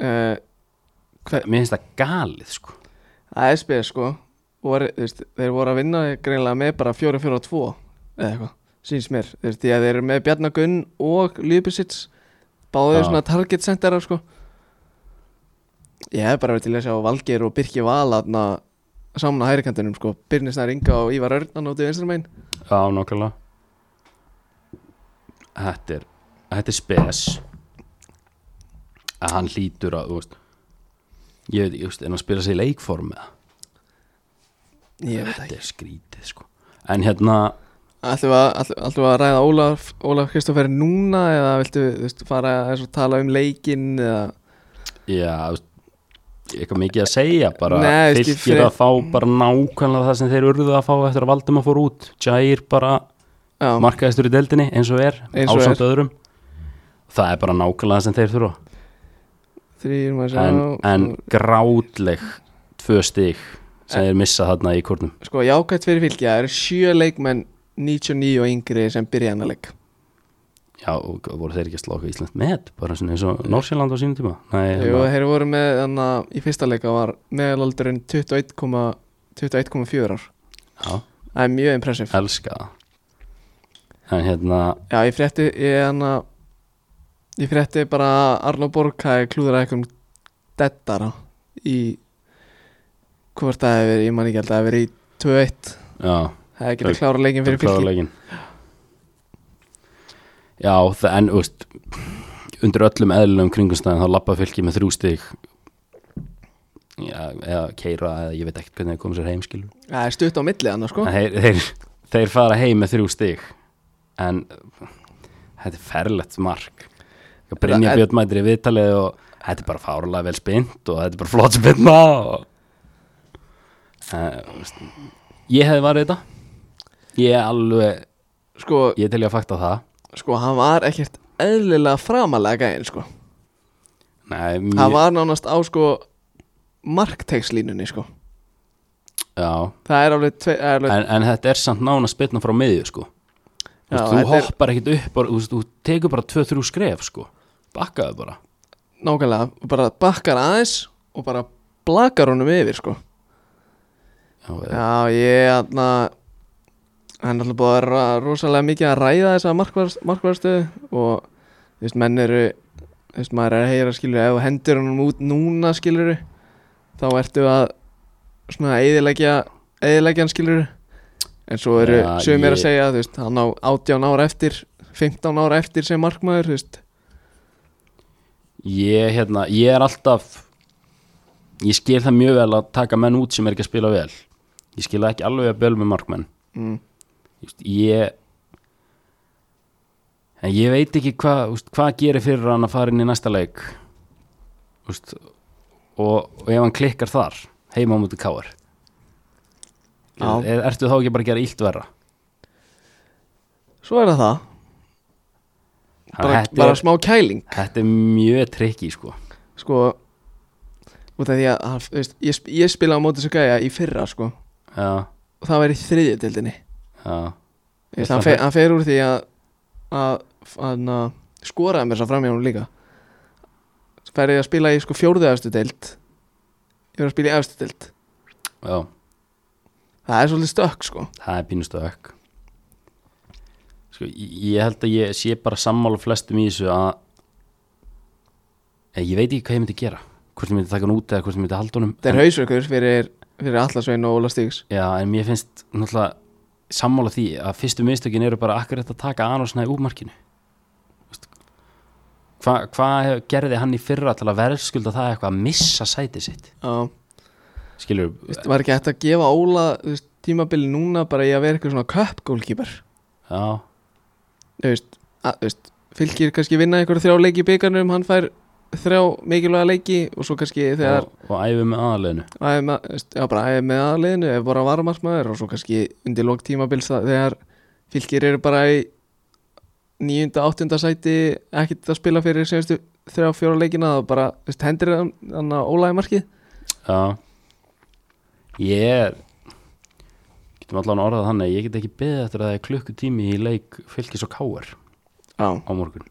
uh,
Mér finnst það galið sko
ASB sko voru, þú veist, Þeir voru að vinna greinlega með bara 4-4-2 eða eitthvað, síns mér þú veist, Því að þeir eru með Bjarnagunn og Ljöbisits Báðu
Já.
svona target centera sko Ég hef bara verið til að sjá Valgeir og Birki Val aðna saman á hærikantinum sko Birnisnær Inga og Ívar Örnan út í vinstramein
Já, nokkulega Þetta er Þetta er spes að hann hlýtur að, þú veist ég veit ekki, þú veist, en að spila sig í leikform eða,
Ég veit
þetta er skrítið sko en hérna,
Ætlum við að, ætlum- ætlum við að ræða Ólaf, Ólaf Kristoffer núna eða viltu þú veist, fara að tala um leikinn eða
já þú veist, eitthvað mikið að segja, bara
Nei, þú veist, ég
fylgir
fer-
að fá bara nákvæmlega það sem þeir urðu að fá eftir að Valdum að fór út Jair bara
Já,
markaðistur í deldinni eins og er,
Eins og
ásamt öðrum það er bara nákvæmlega það sem þeir þurfa
þrýr maður sem
en, en grátleg tvö stig sem þeir missa þarna í kórnum
sko jákvæmt fyrir fylgja það eru sjö leikmenn 99 og yngri sem byrja hennar leik
já, og voru þeir ekki að slá okkur Ísland með bara svona eins og Norsjöland á sínum tíma Nei,
Eh. Jú,
hérna,
þeir voru með þannig að í fyrsta leika var meðalaldurinn 21,4 21,4 ár
já,
það er mjög impressif
elska það en hérna,
já, ég frétti ég, hana, ég frétti bara að Arnó Borg hafi klúður eitthvað um dettara í hvort það hefur, ég man ekki held að það hefur í 2-1,
já,
það hefur getið klára leikin fyrir fylgji
kláðulegin já, það, en úst, undir öllum eðlum kringumstæðin þá lappa fylki með þrjú stig já, eða keira eða ég veit ekkert hvernig þeir komið sér heimskilur
það er stutt á milli hann sko
En þeir, þeir, þeir fara heim með þrjú stig en uh, þetta er ferlegt mark Já, Brynja
Þetta-
Björn mætir í viðtalið og þetta er bara fárlega vel spynt og þetta er bara flott spynna og uh, ég hefði varðið þetta ég er alveg
sko,
ég til ég að fakta það
sko, hann var ekkert eðlilega framalega gæðin, sko
Nei,
hann
mjög,
var nánast á, sko marktegslínunni, sko
já,
það er alveg, tve, er alveg
en, en þetta er samt nána spynna frá miðju sko
Já,
já, þú
þetta er-
hoppar ekkit upp bara, þú, veist, þú tekur bara 2-3 skref sko bakkaðu bara
nákvæmlega, bara bakkar aðeins og bara blakar honum yfir, sko
já,
Já, ég aðna hann er alltaf búið að vera rosalega mikið að ræða þessa markvarðstöðu og þú veist, menn eru þú veist, maður er að heyra skilur ef þú hendur hann út núna skilur þá ertu að svona eðilegja, eðilegja hann skilur en svo eru
Já,
sögum er
ég-
að segja þú veist, hann á 18 ára eftir 15 ára eftir sem markmaður þú veist,
ég, hérna, ég er alltaf ég skil það mjög vel að taka menn út sem er ekki að spila vel ég skil það ekki alveg að böl með markmenn
mm,
Just, ég en ég veit ekki hvað úst, hvað gerir fyrir hann að fara inn í næsta leik úst, og, og ef hann klikkar þar heima á múti káar
Já.
er, ertu þá ekki bara að gera illt verra
svo er það það
Hann-
bara,
þetta,
bara
er,
smá kæling
þetta er mjög trikki sko
sko út af því að hann, þú veist, ég, sp- ég spila á móti þessu gæja í fyrra sko
já,
og það var í þriðja deildinni
já,
Þú veist, hann, fe, hann fer úr því að að, að, að skoraði mér svo framjá hún líka Svo fer ég að spila í sko fjórðu efstu deild ég er að spila í efstu deild
já
það er svolítið stökk sko
það er pínustu ökk sko, ég ég held að ég sé bara sammála flestum í þessu að Eh, ég veit ekki hvað ég myndi gera hvort ég myndi taka hann út eða hvort ég myndi halda honum
það
En-
er hausverkur fyrir, fyrir Allasvein og Óla Stígs
Já, en mér finnst náttúrulega sammála því að fyrstu mistökin eru bara akkurat að taka Aron Snæ úr markinu Veist, Hva- Hvað hef- gerði hann í fyrra til að verðskulda það eitthvað að missa sæti sitt?
og
Skilur,
veist, var ekki hægt að gefa Óla þú veist, tímabili núna bara í að vera eitthvað svona köpgólkýpar
já,
þú veist, að, þú veist fylgir kannski vinna einhverja þrjá leiki í byggarnum hann fær þrjá mikilvæga leiki og svo kannski þegar
og, og æfi með aðaleginu
æfði með, þú veist, já, bara æfði með aðliðinu ef bara varmarsmaður og svo kannski undir lók tímabils það- þegar fylgir eru bara í nýjunda, áttunda sæti ekkert að spila fyrir semstu þrjá, fjóra leikina það bara, þú veist, hendur hann- hann að ólæði markið
Já Ég er getum allan orðað þannig að ég get ekki beðið eftir að það er klukkutími í leik fylgis og káar
já,
á morgun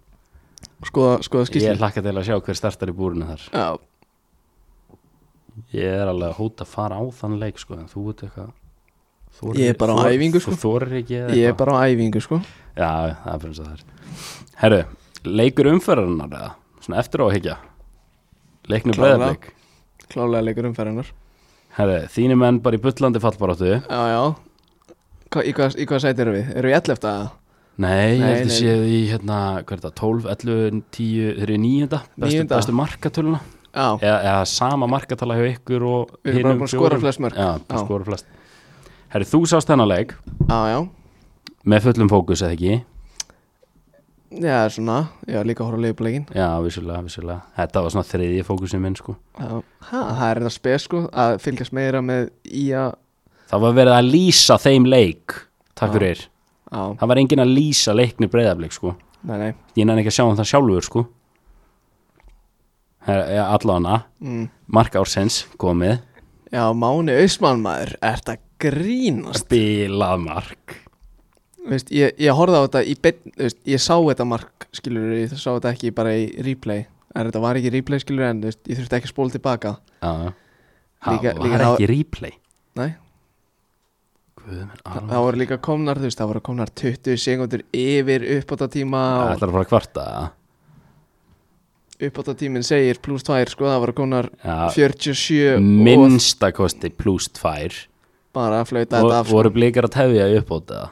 skoða, skoða
Ég
skýrslu
hlakka til að sjá hver startar í búrinu þar
já, Ég
Ég er alveg að hóta að fara á þann leik sko, en þú veit eitthvað þorir-
Ég er bara á
þor-
æfingu, sko.
Þú þorir ekki eða
er bara á æfingu, sko
Já, það er fyrir eins og það er Herru, leikur umferðarnar eða? Svona eftir á að higgja Leiknum
Klárlega.
breðablik
klálega leikur umferðinar
Herru, þínu menn bara í bullandi fallbaráttu
já, já Hva, í, hvað, í hvað sæti eru við? Eru við 11 að
Nei, ég
Nei,
held að
nei.
séð í hérna, hvað er þetta, 12, 11, 10 Þeir eru nýjunda, bestu,
Níunda.
bestu markatöluna
Já,
eða, eða sama markatala hjá ykkur og
Við erum bara
hinum
búin að skora
fjórum.
flest mörk.
Já, bara
Já.
skora flest Herru, þú sást þennan leik
já, já
með fullum fókus eða ekki
Já, svona, ég var líka að horfa á leiðblegin
Já, vissulega, vissulega. Þetta var svona þriðji fókusin minn, sko.
ha, Það er þetta spes sko að fylgjast meira með í að
Það var verið að lýsa þeim leik, takk
Já.
fyrir.
Já,
Það var enginn að lýsa leikni breyðablik, sko.
nei, nei
Ég næði ekki að sjá um það sjálfur, sko. Allana,
mm.
Mark Ársens komið,
Já, Máni Ausmann maður, er þetta grínast
spilað mark.
Veist, ég, ég horfði á þetta í beinn, þú veist, ég sá þetta mark skilur, ég sá þetta ekki bara í replay er þetta var ekki replay skilur en þú veist, ég þurfti ekki að spóla tilbaka
Já,
Líka-
það
líka
var
þá-
ekki replay.
Nei,
Guð, menn,
það,
Aron.
það voru líka komnar, þú veist, það voru komnar 20 sekundur yfir uppbótatíma
Það
og
ætlar að fara að kvarta, eða?
uppbótatíminn segir pluss 2 sko, það voru komnar
já.
47 og
Minnsta kosti pluss tvær.
bara að flauta
Vo-
þetta af sko.
voru blikar að tefja í uppbóta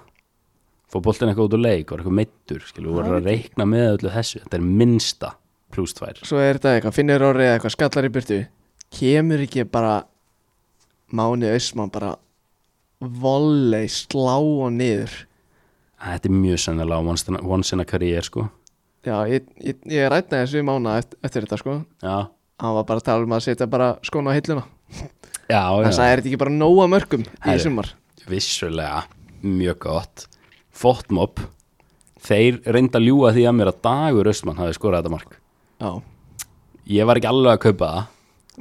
fór boltin eitthvað út úr leik var eitthvað meittur, skilu, voru að reikna með öllu þessu, þetta er minnsta pluss tvær
svo er þetta eitthvað finnir orðið eða eitthvað skallar í burtu kemur ekki bara Máni Ösman bara volley slá og niður
þetta er mjög sennilega once in a- once in a career sko.
Já, ég, ég, ég rætna þessu mána eftir, eftir þetta sko
já,
Hann var bara að tala um að setja bara skóna á hilluna
já, já.
Hann sagði, er þetta ekki bara nóga mörgum í
Herri.
sumar?
vissulega mjög gott Fótmob þeir reynda að ljúga því að mér að Dagur Östmann hafi skorað þetta mark
Já,
ég var ekki alveg að kaupa það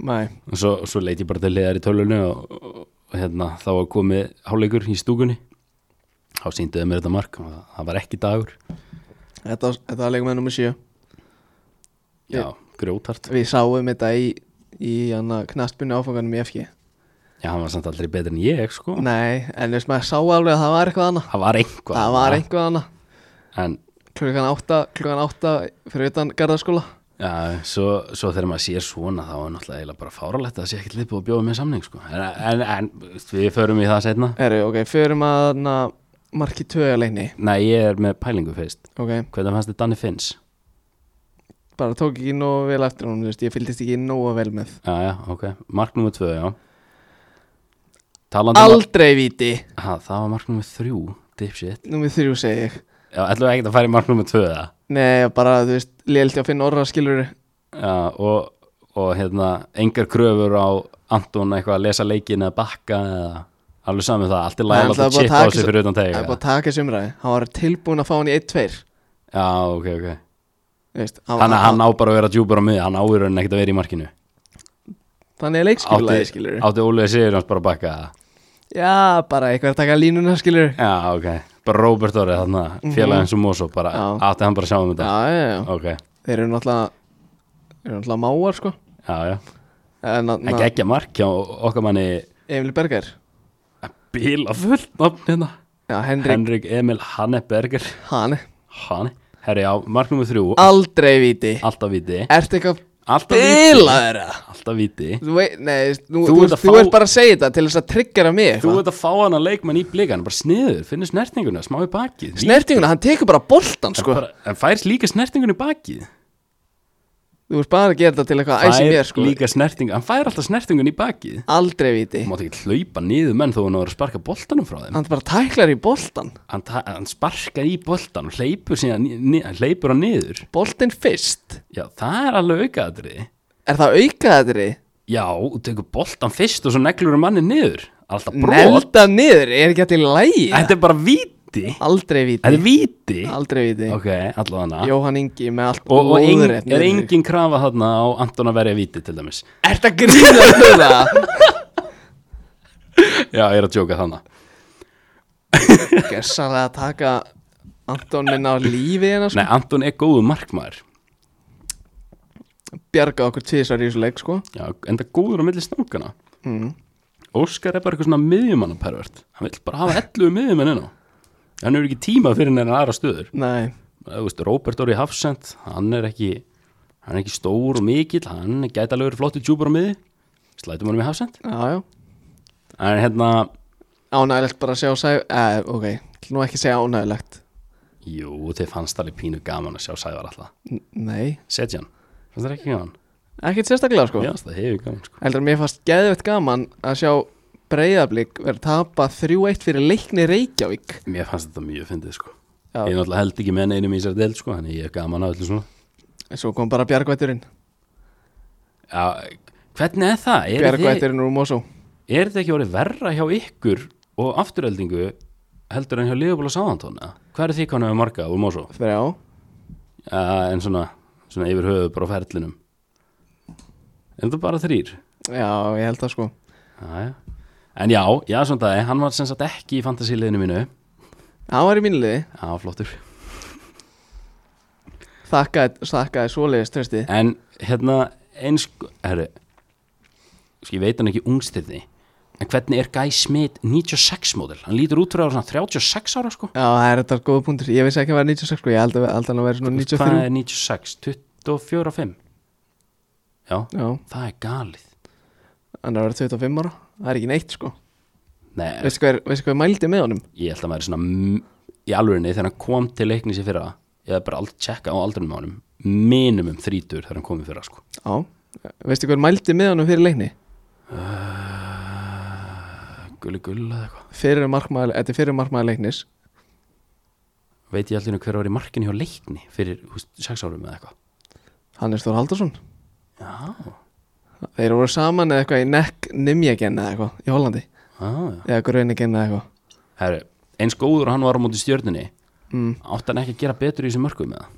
nei,
og svo, svo leit ég bara til liðar í tölunni og, og, og hérna, þá var komið háleikur í stúkunni þá sýnduðu mér þetta mark og það- það var ekki Dagur
þetta, þetta var leikum með nummer 7
já, grjótart
Við sáum þetta í, í knastbunni áfanganum í FG
já, hann var samt aldrei betur en ég sko.
Nei, en veist maður sá alveg að það var eitthvað annað
það var einhvað
Það var eitthvað annað
en
Klukkan átta, klukkan átta fyrir utan garðaskóla
Já, svo, svo þegar maður sér svona þá er náttúrulega eiginlega bara fáralegt að það sé ekkert liðbúið að bjóða með samning sko. en, en, en við förum í það setna
Herru, ok, förum að na, marki 2 leini
Nei, ég er með pælingu fyrst
Ok,
Hvernig fannst þið Danni Finns?
bara tók ekki nógu vel eftir honum, þú veist, ég fylgdist ekki nógu vel með
Já, já, ok, mark nummer tvö, já Talandi um að-
Aldrei viti,
ha, Það var mark nummer þrjú, dipshit
nummer þrjú segi ég
Já, ætlum við ekkert að fara í mark nummer tvö það
Nei, bara, þú veist, lélt ég að finna orra skilur
Já, og, og hérna, engar kröfur á Anton eitthvað að lesa leikin eða bakka eða alveg saman það, allt er
Nei,
lægilega
það er bara
að
að
chipa á
taka
sig
svo-
fyrir utan
Það
tegi
er bara að taka þessu umræði, hann var tilbúin að fá hann í 1-2
Já, ok, ok Þannig
Þannig
að hann á bara að vera djúpar á miði, hann áður en ekkert að vera í markinu
Þannig er leikskilurlega,
Átti,
skilur
átti Ólega Sigur hans bara að bakka það
Já, bara eitthvað að taka línuna, skilur Já,
Já, ok, bara Robert Orri þarna, félagin sem Moso, bara
Mhm. Já.
átti hann bara að sjá um þetta
já, já,
Ok,
þeir eru náttúrulega Þeir eru náttúrulega máar, sko
já, já
En
En
þarna-
geggja mark hjá okkar manni
Emil Berger
bíla fullt nafn hérna
Já, Henrik,
Henrik Emil Hanneberger
hann
Hann, herri já, mark nummer þrjú
Aldrei viti
Alltaf viti
Ertu eitthvað
Alltaf viti
bilaður eða?
Alltaf viti
Þú veit, nei, þú,
Þú
þú,
ert
þú,
að
þú
fá-
ert bara að segja þetta til þess að tryggjara mig
Þú ert að fá hann að leikmann í blikan, bara sniður, finnir snertinguna, smá í bakið
Snertinguna, hann tekur bara boltan, sko
bara, En færs líka snertinguna í bakið
Þú ert bara að gera þetta til eitthvað æsi
fær
mér, sko
líka snerting hann fær alltaf snertingun í bakið
Aldrei viti
hann mátt ekki hlaupa niður menn þó hann var að sparka boltanum frá þeim
Hann bara tæklar í boltan
hann, ta- hann sparkar í boltan og hleypur síðan ni- ni- hann hleypur hann niður
Boltin fyrst
já það er alveg aukaðatri
Er það aukaðatri?
já og tekur boltan fyrst og svo neglur hann manni niður alltaf brot
Nelda niður, er ekki allir lægi?
þetta er bara víti
Aldrei
þetta
viti
er víti
Aldrei viti
ok allavega hana
Jóhann Ingi með allt
og, og ein,
lóðrétt
er
niður.
engin krafa þarna á Anton að verja víti til dæmis
Ertu að grínast með það?
já ég er að djóka þannig
Gessar að taka Anton minn á lífi hérna sko.
nei Anton er góðu markmaður
Bjarga okkur tvisar í þessu leik sko.
já enda góður á milli stangana
mm.
Óskar er bara eitthvað svona miðjumannapervert hann vill bara hafa 11 miðjumenn inn á hann hefur ekki tíma fyrir neina aðra stöður
Nei,
þú veist, Róbert Orri Hafsend hann er ekki hann er ekki stór og mikill, hann gæti alveg verið flottu djúpar á miði, slætum hann með Hafsend
já, já
en hérna,
Ánægilegt bara að sjá sæ... eh, Ok, ætla nú ekki að segja ánægilegt
jú, þið fannst alveg pínu gaman að sjá Sævar alltaf,
N Nei,
setja hann Sko. fannst það ekki gaman,
ekkert sérstaklega sko
mér fannst það hefur gaman sko.
Heldur að mér fannst geðvett gaman að sjá Breiðablík verið tapa 3-1 fyrir leikni Reykjavík
mér fannst þetta mjög fyndið sko
Já.
ég náttúrulega held ekki með neinum í sér del sko, þannig ég er gaman að öllu svona
Svo kom bara Bjargvætturinn
já, hvernig er það? Eru þið-
Bjargvætturinn úr Mosó
er þetta ekki orðið verra hjá ykkur og afturöldingu heldur en hjá Liverpool og Southampton eða? hvað er því kannu við marga úr Mosó
Þrjá
uh, en svona, svona yfir höfuð bara á ferlinum er þetta bara þrýr
Já, ég held það sko
Aja. en já, já svona það hann var sem sagt ekki í fantasíliðinu mínu
Hann var í mínu liði
já, flottur
Þakkaði, þakkaði svoleiðis trösti
en hérna eins herri, sko, ég veit hann ekki ungstirni en hvernig er Guy Smith 96 módel hann lítur út fyrir á svona 36 ára sko
Já, það er þetta góða punktur Ég vissi ekki að vera 96 sko Ég held að, held að hann vera svona
Hvað
93
er 96? 24 og 5? Já,
Já,
það er galið
hann er að vera 25 ára Það er ekki neitt sko
Nei,
Veistu hvað, er, veistu hvað mældi með honum?
ég held að maður er svona m- í alvörinni þegar hann kom til leiknis í fyrra ég hef bara aldrei tjekka á aldrinum á honum minimum þrítur þegar hann kom í fyrra sko.
Já Veistu hvað mældi með honum fyrir leikni?
Gulli gull eða eitthvað
Fyrir markmaður, þetta er fyrir markmaður leiknis
veit ég allir hver var í markinu hjá leikni fyrir þú veist, sex árum eða eitthvað
Hannes Þór Haldarsson
já,
Þeir voru saman eða eitthvað í Neck Nimjagen eða eitthvað í Hollandi
já, já.
eða Gröningen eða eitthvað
Herru, eins góður og hann var á móti stjörninni
mm.
átt hann ekki að gera betur í þessum mörgum eða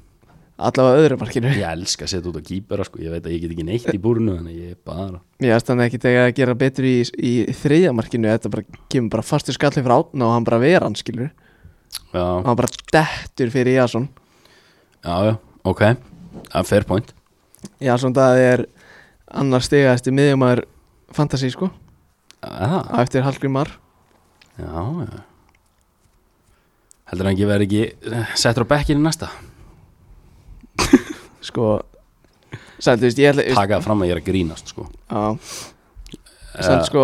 Allavega öðru markinu
ég elska að setja út á kýpera sko, ég veit að ég get ekki neitt í búrinu þannig ég er bara
Mér finnst hann ekki að gera betur í, í þriðja markinu þetta bara kemur bara fastur skalli frá átna og hann bara vera hann skilur og
já,
hann bara dettur fyrir Jason
já, já, ok A fair point
Jason það er annar stigaðasti miðjumæður fantasy sko
ah,
á eftir Hallgrímar
já, já heldur hann ekki verið ekki eh, settur á bekkinu næsta
sko Sælt, þú veist, ég ætla þú veist,
taka það fram að ég er að grínast sko
Já Samt sko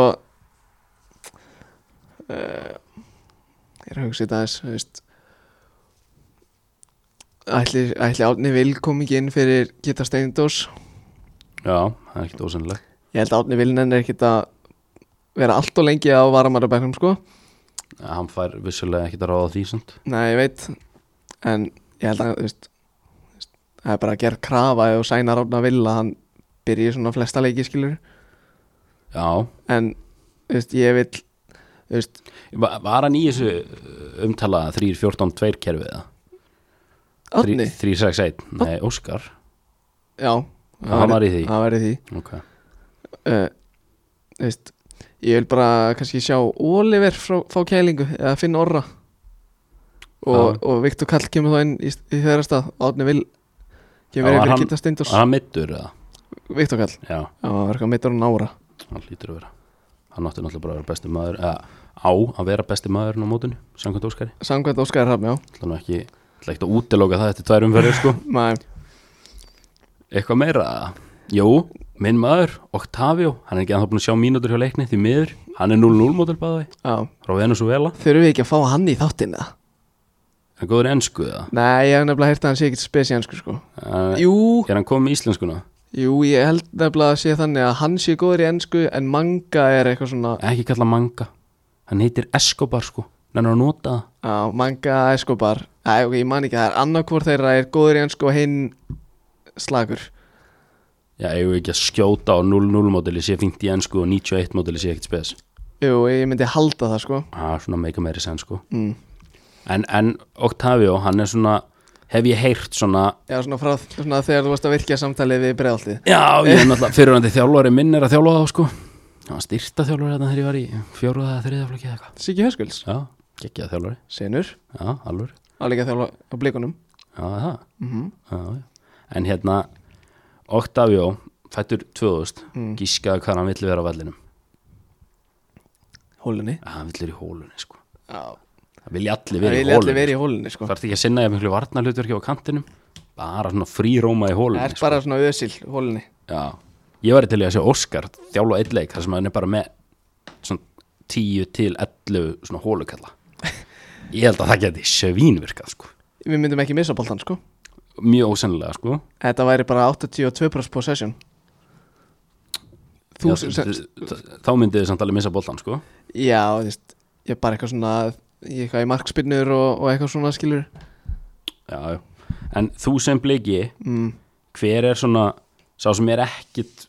uh, Ég er að hugsa þetta aðeins þú veist. Ætli, ætli Átni Vil kom ekki inn fyrir Gita Steindós
já, það er ekkert ósennilegt
Ég held að Átni Vil nenni ekki að vera allt og lengi á varamarabæknum sko
Eh, hann fær vissulega ekkert að ráða því samt
Nei, ég veit En ég held að þú veist, þú veist, það er bara að gera krafa og sæna Átna Vil að hann byrji svona flesta leiki skilur
já,
En þú veist, ég vil þú veist,
Va- var hann í þessu uh, umtalaða 3-14-2 kerfið eða?
Átni
3-6-1, nei, Óskar
Já,
Hann var í því.
Hann var í því
ok,
uh, veist, Ég vil bara kannski sjá Oliver frá, fá kælingu eða Finn Orra og, og Viktor Kall kemur þá inn í, í þeirra stað Átni vil
Já,
kemur
var
yfir
hann-
Kitta Steindors
var hann mittur eða?
Viktor Kall,
já,
já, hann verður eitthvað meittur á nára
hann lítur að vera hann átti náttúrulega bara að vera besti maður eða á að vera besti maðurinn á mótunni samkvæmt Óskari,
Samkvæmt Óskar Hrafn, já
ætla nú ekki ætla ekkert að útiloka það eftir tvær umferðir sko
Nei,
eitthvað meira eða? jú, minn maður, Octavio hann er ekki að það búin að sjá mínútur hjá leikni því miður hann er 0-0 mótil bæði
já
frá Venezuela,
Þurfum við ekki að fá hann í þáttinn eða?
hann er góður í ennsku eða
Nei, ég hef nefnilega heyrt að hann sé ekkert spesiansku sko
Eh,
Jú,
er hann komið í íslenskuna?
jú, ég held nefnilega að sé þannig að hann sé góður í ensku en manga er eitthvað svona
ekki kalla manga hann heitir Escobar sko hann er að nota það
Já, manga Escobar Æ, ok, ég man ekki, það er annarkvort þeirra er góður í ennsku og hinn slagur
Já, eigum við ekki að skjóta á 0-0 mótili sé fínt í ennsku og 91 mótili sé ekkert spes
Jú, ég myndi halda það, sko
Það er svona meika meiri sen sko
mm.
en, en Octavio, hann er svona hef ég heyrt svona
Já, svona frá svona þegar þú varst að virkja samtalið við bregðaltið
Já, ég er náttúrulega fyrirhandi þjálfari minn er að þjálfa þá sko hann var styrta þjálfari þarna þegar ég var í fjóruða eða þriða flokki eða eitthvað
Siggi Höskulds,
Já, gekkjaða þjálfari,
senur,
já, alveg
álíka þjálfa á blikunum
Já, það,
mm -hmm.
já, já En hérna, Octavio fættur 2000,
Mm.
gískaði hvað hann vill vera á vellinum
Hólunni
Já, hann vill vera í hólunni sko
Já,
Það vilja allir
það
vera í
vilja allir
hólunni
verið í hólunni, sko
sko. Þarf ekki að sinna ég miklu varnarlutverki á kantinum Bara svona fríróma í
Það
hólunni sko.
er bara svona ösil, hólunni
Já, ég væri til í að sjá Óskar þjálfa einn leik þar sem hann er bara með svona 10 til 11 svona hólukalla Ég held að það geti svínvirkað sko
Við myndum ekki missa boltan, sko
Mjög ósennilega sko
Þetta væri bara 82% possession
Já,
Þúsund
þ- þ- Þá myndið þið samt alveg missa boltan sko
Já, þú veist, ég er bara eitthvað svona í eitthvað í markspinnur og, og eitthvað svona skilur
Já, já En þú sem bliki,
mm.
hver er svona sá sem er ekkit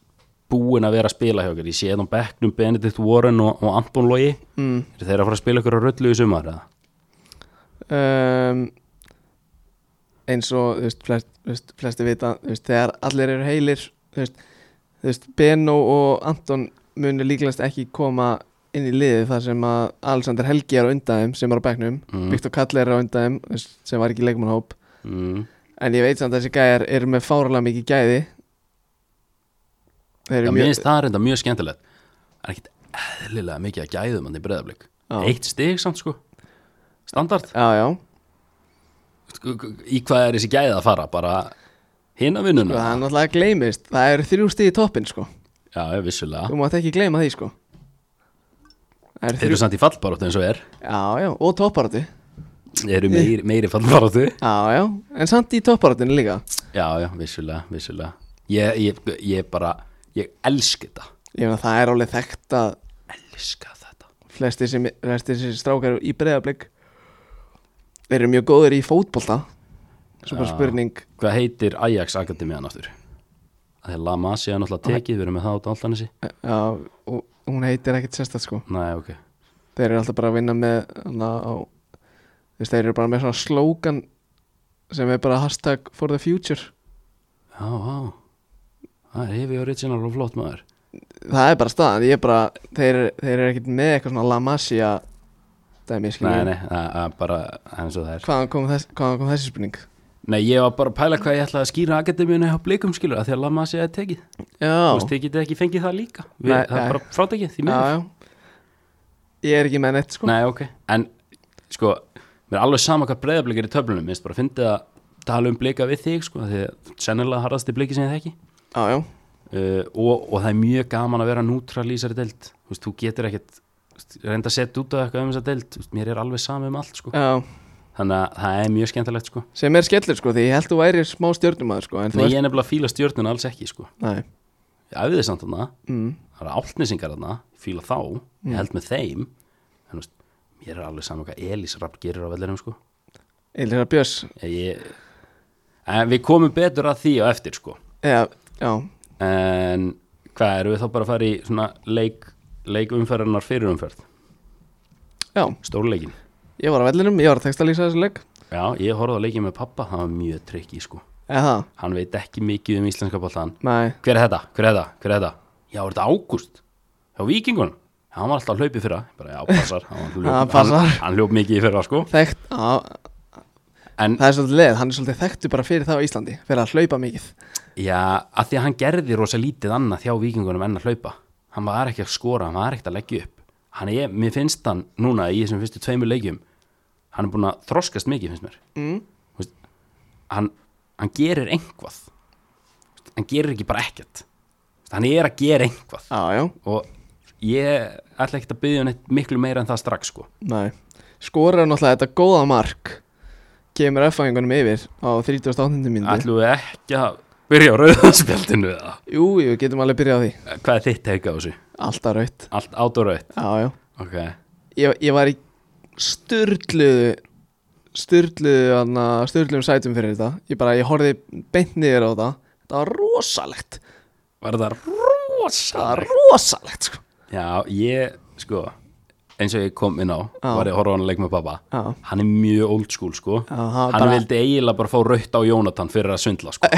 búin að vera að spila hjá okkur Ég sé þetta á bekknum Benedikt Warren og, og Anton Logi
Mm.
Er þeir að fara að spila okkur á röllu í sumar eða?
Um, eins og þú veist, flest, þú veist, flesti vita þú veist, þegar allir eru heilir þú veist, þú veist, Beno og Anton munu líklegast ekki koma inn í liðið þar sem að Alexander Helgi er á undan þeim sem er á bekknum
Mm.
Viktor Kall er á undan þeim þú veist, sem var ekki í leikmannhóp
Mm.
en ég veit samt að þessi gæjar eru með fáralega mikið gæði Þeir
Já,
eru
mér
mjög
finnst það reynda mjög skemmtilegt Það er ekkit eðlilega mikið að gæðum hann í breyðablík
Já.
Eitt stig samt sko Standard Sko,
Já, já,
Í hvað er þessi gæði að fara? Bara hina
Sko,
vinnuna?
það er náttúrulega gleymist Það eru þrjú stig í toppin sko
Já, ég, vissulega
Þú mátt ekki gleyma því sko Það eru
Þeir eru
þrjú
samt í fallbaróttu eins og er
Já, já, og topparáttu
Þeir eru meiri, meiri fallbaróttu
Já, já, en samt í topparáttunni líka
Já, já, vissulega, vissulega Ég, ég, ég bara, ég elska þetta
Ég meina það er alveg þekkt að
Elska þetta
flestir sem, flestir sem strákar í breyðablik Þeir eru mjög góðir í fótbolta Svo bara
Já.
spurning
Hvað heitir Ajax Akademiðan aftur? Það er La Masia náttúrulega tekið, við erum með það á Daltanesi
Já, og hún heitir ekkert sérstætt sko
Nei, ok
Þeir eru alltaf bara að vinna með hana, á, þú veist, Þeir eru bara með svona slókan sem er bara hashtag for the future
Já, já Það er hefði original og flott maður
Það er bara staðan, ég er bara Þeir, þeir eru ekkert með eitthvað svona La Masia dæmi,
Nei,
skiljum
nei, það það er bara eins og það er
Hvaðan kom, þess, hvaðan kom þessi spurning?
Nei, ég var bara að pæla hvað ég ætlaði að skýra Akademiðan á blikum skilur að því að La Masia er tekið Þú
Já,
veist, þið getið ekki fengið það líka við,
Nei,
Það
nei.
er bara frátekið, því
já,
miður
já Ég er ekki með neitt sko
Nei, ok En, sko, mér er alveg sama hvað breyðablik er í töflunum Mér finnst bara að fyndið að tala um blika við þig sko, því að sennilega harðast í bliki sem ég þekki
Já, já,
uh, og, og það er mjög gaman að vera nútral í þessari deild þú, veist, þú getur ekkert þú veist, reynda að setja út á eitthvað um þessa deild þú veist, mér er alveg sami um allt sko.
já
þannig að það er mjög skemmtilegt sko.
sem er skellur sko því ég held þú væri smá stjórnumæður sko en
Nei,
þú
ég er nefnilega að fíla stjörnuna alls ekki sko.
Nei.
ég æfði þess samt þarna,
Mm.
það eru áltnisingar þarna ég fíla þá, ég held með þeim en þú veist, mér er alveg sami hvað Elís Rapp gerir á vellinum sko.
Elisa Björns
ég, en við komum betur að því á eftir sko.
já, já,
en hvað erum við þá bara að fara í svona leik, leikumferðarnar fyrir umferð
já,
stórleikin
ég var á vellinum, ég var að texta lýsa þessu leik
Já, ég horfði á leikið með pappa, það var mjög trikki sko.
eða,
Hann veit ekki mikið um íslenska boltan
nei,
Hver er þetta? Hver er þetta? Hver er þetta? Já, er þetta Ágúst? Hjá Víkingunum? Já, Hann var alltaf hlaupið fyrra bara, Já, passar Hann,
Hann
var hljóp,
passar.
hann, hann hljóp mikið í fyrra sko.
þekkt á,
En
það er svolítið leið, hann er svolítið þekktu bara fyrir það á Íslandi fyrir að hlaupa mikið
já, að því að hann gerði rosa lítið annað hjá Víkingunum en að hlaupa Hann var ekki að skora, hann var ekki að leggja upp Hann er, mér finnst hann núna í þessum fyrstu tveimur leikjum Hann er búin að þroskast mikið, finnst mér
mm.
Þú veist, hann, hann gerir einhvað Þú veist, hann gerir ekki bara ekkert Þú veist, hann er að gera einhvað
já, já,
og ég ætla ekkert að byggja hann eitt miklu meira en það strax sko.
nei skorar náttúrulega þetta góða mark kemur öffæðingunum yfir á 38. mínúti
ætlum við ekki að byrja á rauðarspjaldinu eða?
jú, jú, getum alveg byrjað á því
hvað er þitt teika á þessu?
alltaf raut,
allt át og rauð
já, já
ok,
ég, ég var í styrluðu styrluðu hana, styrluðum sætum fyrir þetta ég bara, ég horfið beint niður á þetta þetta var rosalegt
var það
það var
rosalega
rosalegt sko
já, ég, sko eins og ég kom inn á,
Já.
var ég að horfa á hann að leik með pappa
já,
hann er mjög old school sko
Já, hann var
hann
bara-
vildi eiginlega bara fá rautt á Jónatan fyrir að svindla sko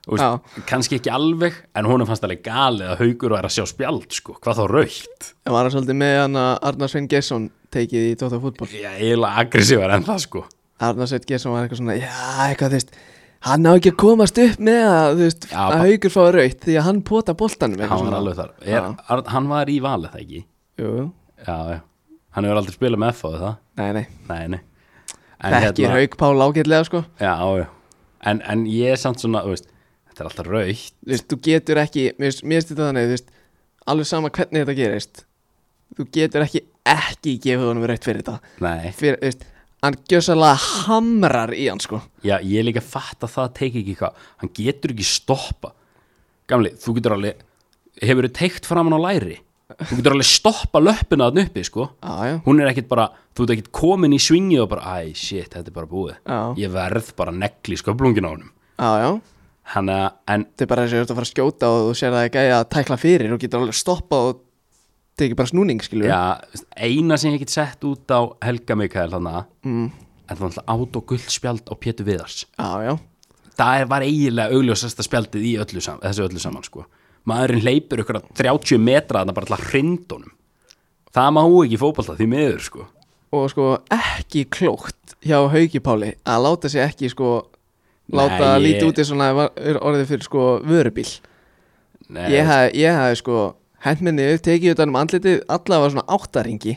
Þú veist, kannski ekki alveg en honum fannst alveg galið að haugur var að sjá spjald sko, hvað þá rautt
ég var svolítið með hana Arnar Svein Gesson tekið í Dóta fútból
já, eiginlega aggressívar en það sko
Arnar Svein Gesson var eitthvað svona, já, eitthvað þú veist hann á ekki að komast upp með að þú veist,
Já,
að
bara-
haugur fá raut því að hann pota boltanum eitthvað
hann var
svona.
alveg þar er,
Já.
Ar, hann var í valið það ekki
jú, jú.
já, já. hann hefur aldrei spilað með F á það
nei, nei,
nei, nei
þekki hérna... haug Pál ágætlega sko
já, já. En, en ég er samt svona þú veist, þetta er alltaf rautt
þú veist, þú getur ekki mér finnst- mér finnst þetta þannig, þú veist alveg sama hvernig þetta gerist þú getur ekki ekki gefið honum rautt fyrir þetta
nei,
fyrir, þú veist, hann gjössalega hamrar í hann sko
já, ég er líka fatt að það teki ekki hvað, hann getur ekki stoppa gamli, þú getur alveg hefur þið teikt framann á læri þú getur alveg stoppa löppina þann uppi sko,
já, já,
hún er ekkit bara þú ert ekkit komin í svingið og bara æ, shit, þetta er bara búið
já,
ég verð bara að negli sköflungin á honum
já, já.
hann að, en
þetta er bara þess að þú ert að fara að skjóta og þú sér það ekki að tækla fyrir og getur alveg stoppað og tekið bara snúning skilur
Já, eina sem ég get sett út á Helga Mikael þannig
mm,
en það var alltaf át og gullt spjald á Pétur Viðars
já, já,
það er- var eiginlega augljósasta spjaldið í öllu saman, þessu öllu saman sko maðurinn hleypur ykkur 30 metra þannig bara alltaf hrindunum það má ekki í fótbolta því miður sko
og sko ekki klókt hjá Hauki Páli að láta sig ekki sko láta
Nei, ég-
lítið úti svona var- er orðið fyrir sko vörubíl
Nei,
Ég hafði, ég hafði sko hendminni upp, tekið utan um andlitið allavega svona áttaringi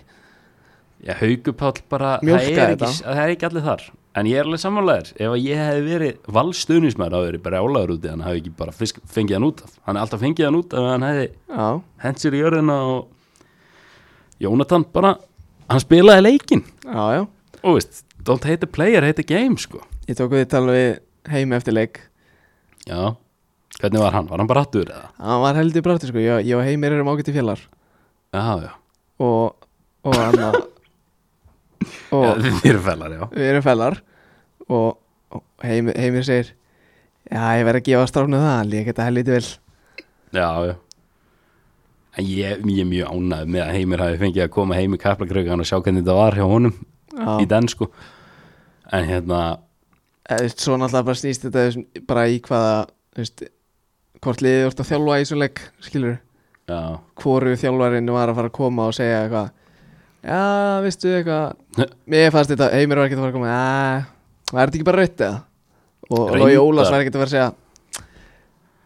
Já, haugupál bara, það
Mjólkaði
er, ekki,
þetta.
það er ekki allir þar En ég er alveg samanlegar, ef að ég hefði verið valstuðnismæður á þeirri bara álagur úti hann hefði ekki bara fisk, fengið hann út af hann er alltaf fengið hann út af ef hann hefði
Já,
hent sér í jörðina og Jónatan bara hann spilaði leikinn
já, já
og veist, don't hate the player, hate the game sko.
Ég tók við tala við heim eftir leik
já, hvernig var hann? var hann bara hattur eða?
Hann var heldur brátti sko, ég, ég og heimir erum ágætti fjallar
já, já,
Og, og hann að og
Já, Þið eru fellar, já
við erum fellar og, og heimir, heimir segir já ég verð að gefa stráfnu það hann líka þetta helviti vel
Já, já En ég, ég er mjög ánægð með að Heimir hafi fengið að koma heim í kaplakraugan og sjá hvernig þetta var hjá honum í
já,
den sko En hérna,
eða, þú veist, svo náttúrulega bara snýst þetta þú veist, bara í hvaða þú veist, hvort liðið vart að þjálfa í svo leik skilur,
já
hvoru þjálfarinn var að fara að koma og segja eitthvað já, veistu eitthvað mér fannst þetta, heimir var ekki að fara að koma já, var þetta ekki bara rautt eða og Lói
Reyndar.
Ólafs var ekki að fara að segja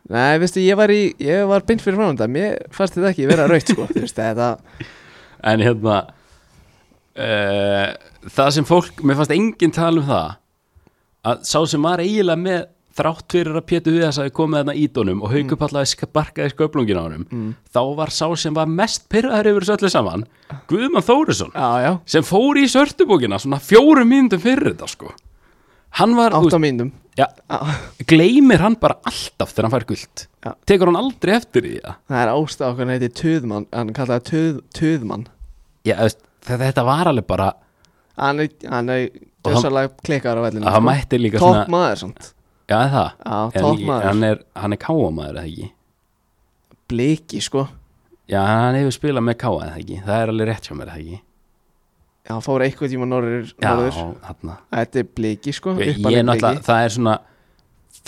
nei, veistu, ég var í ég var beint fyrir frá þetta, mér fannst þetta ekki vera rautt sko, þú veist, þetta
En hérna uh, Það sem fólk Mér fannst enginn tala um það að sá sem var eiginlega með þrátt fyrir að Pétur Viðas hafi komið þarna ídónum og haukupallaði mm. barkaði sköplungin á honum þá var sá sem var mest pyrraður yfir þessu öllu saman Guðmann Þórisson
Já, já,
sem fór í sörtubókina svona fjórum myndum fyrir þetta sko hann var, þú
átta mínum
veist, ja, gleymir hann bara alltaf þegar hann fær gult
Já.
tekur hann aldrei eftir í það
Það er ástæða okkur hann heiti Töðmann Hann kallaði töð, Töðmann
Já, þú veist, þetta þetta var alveg bara
Hann er, hann er
Og hann-
Gjössalega klikkar á vellinu
að hann mætti líka
Topp
svona
maður samt
já, er það,
Já,
En
topp
ég-
maður.
hann er, hann er káamaður eða ekki
Bliki sko
já, hann hefur spilað með káa eða ekki það er alveg rétt hjá mér eða ekki
Hann fór eitthvað tíma norður
já,
norður.
þarna
Þetta er bliki sko
ég
uppalinn
er náttúrulega,
Bliki.
það er svona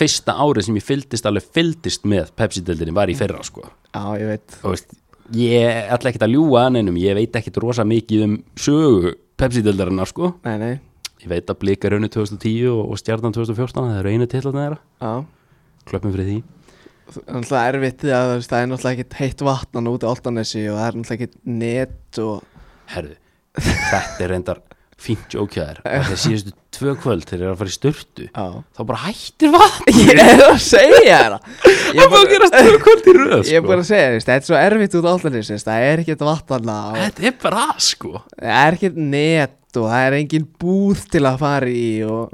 fyrsta árið sem ég fylgdist alveg fylgdist með Pepsi-deldinni var í fyrra sko
Já, ég veit
þú veist, ég ætla ekkert að ljúga hann einum, ég veit ekkert rosa mikið um sögu Pepsi-dildarinnar sko
Nei, nei
ég veit að blika raunni 2010 og, og stjarnan 2014, það eru einu titlarna þeirra
Já
klöppum fyrir því
Það er náttúrulega erfitt því að þú veist, það er náttúrulega ekkert heitt vatnan út á Altanesi og það er náttúrulega ekkert net og
herðu, þetta er reyndar fínt jókjaðar, þegar síðustu tvö kvöld þegar þeir eru að fara í styrtu
Já
þá bara hættir vatn
Ég er að segja þér það Ég
það
er
bara
bara-
gerast tvö kvöld í röð
Ég er
sko.
bara að segja, þú veist, þetta er svo erfitt út á Altanesi þú veist, Það er ekkert vatnan og
þetta er bara að, sko
Það er ekkert net og það er engin búð til að fara í og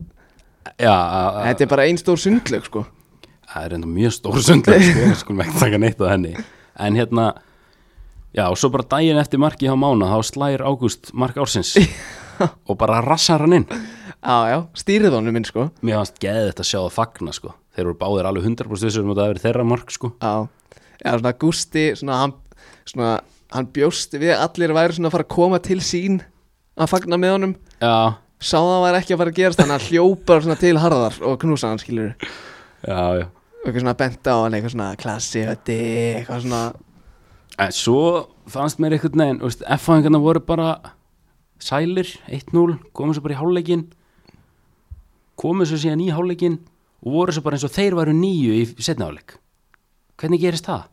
já, að- að-
þetta er bara einn stór sundlög sko.
það er enda mjög stór sundlega sko, við skulum ekki taka neitt á henni en hérna já, og svo bara daginn eftir markið á mána þá slægir Ágúst mark ársins og bara rassar hann inn
Já, já, stýrið honum minn sko.
mér fannst geðið þetta að sjá það fagna sko þeir voru báðir alveg 100% þessum um að það hafi verið þeirra mark sko
Já, já svona Gusti, svona hann, svona hann bjóst við að allir væri svona að fara að koma til sín að fagna með honum.
já,
Sá það var ekki að fara að gerast þannig að hljópar svona til harðar og knúsa hann skilur.
já, já
Og eitthvað svona benta á hann, eitthvað svona klassi, hötti, eitthvað svona,
en Eh, svo fannst mér einhvern veginn þú veist, F-fæðingarna voru bara sælir, 1-0, komu svo bara í hálfleikin komu svo síðan í hálfleikin og voru svo bara eins og þeir varu nýju í setna hálfleik hvernig gerist það?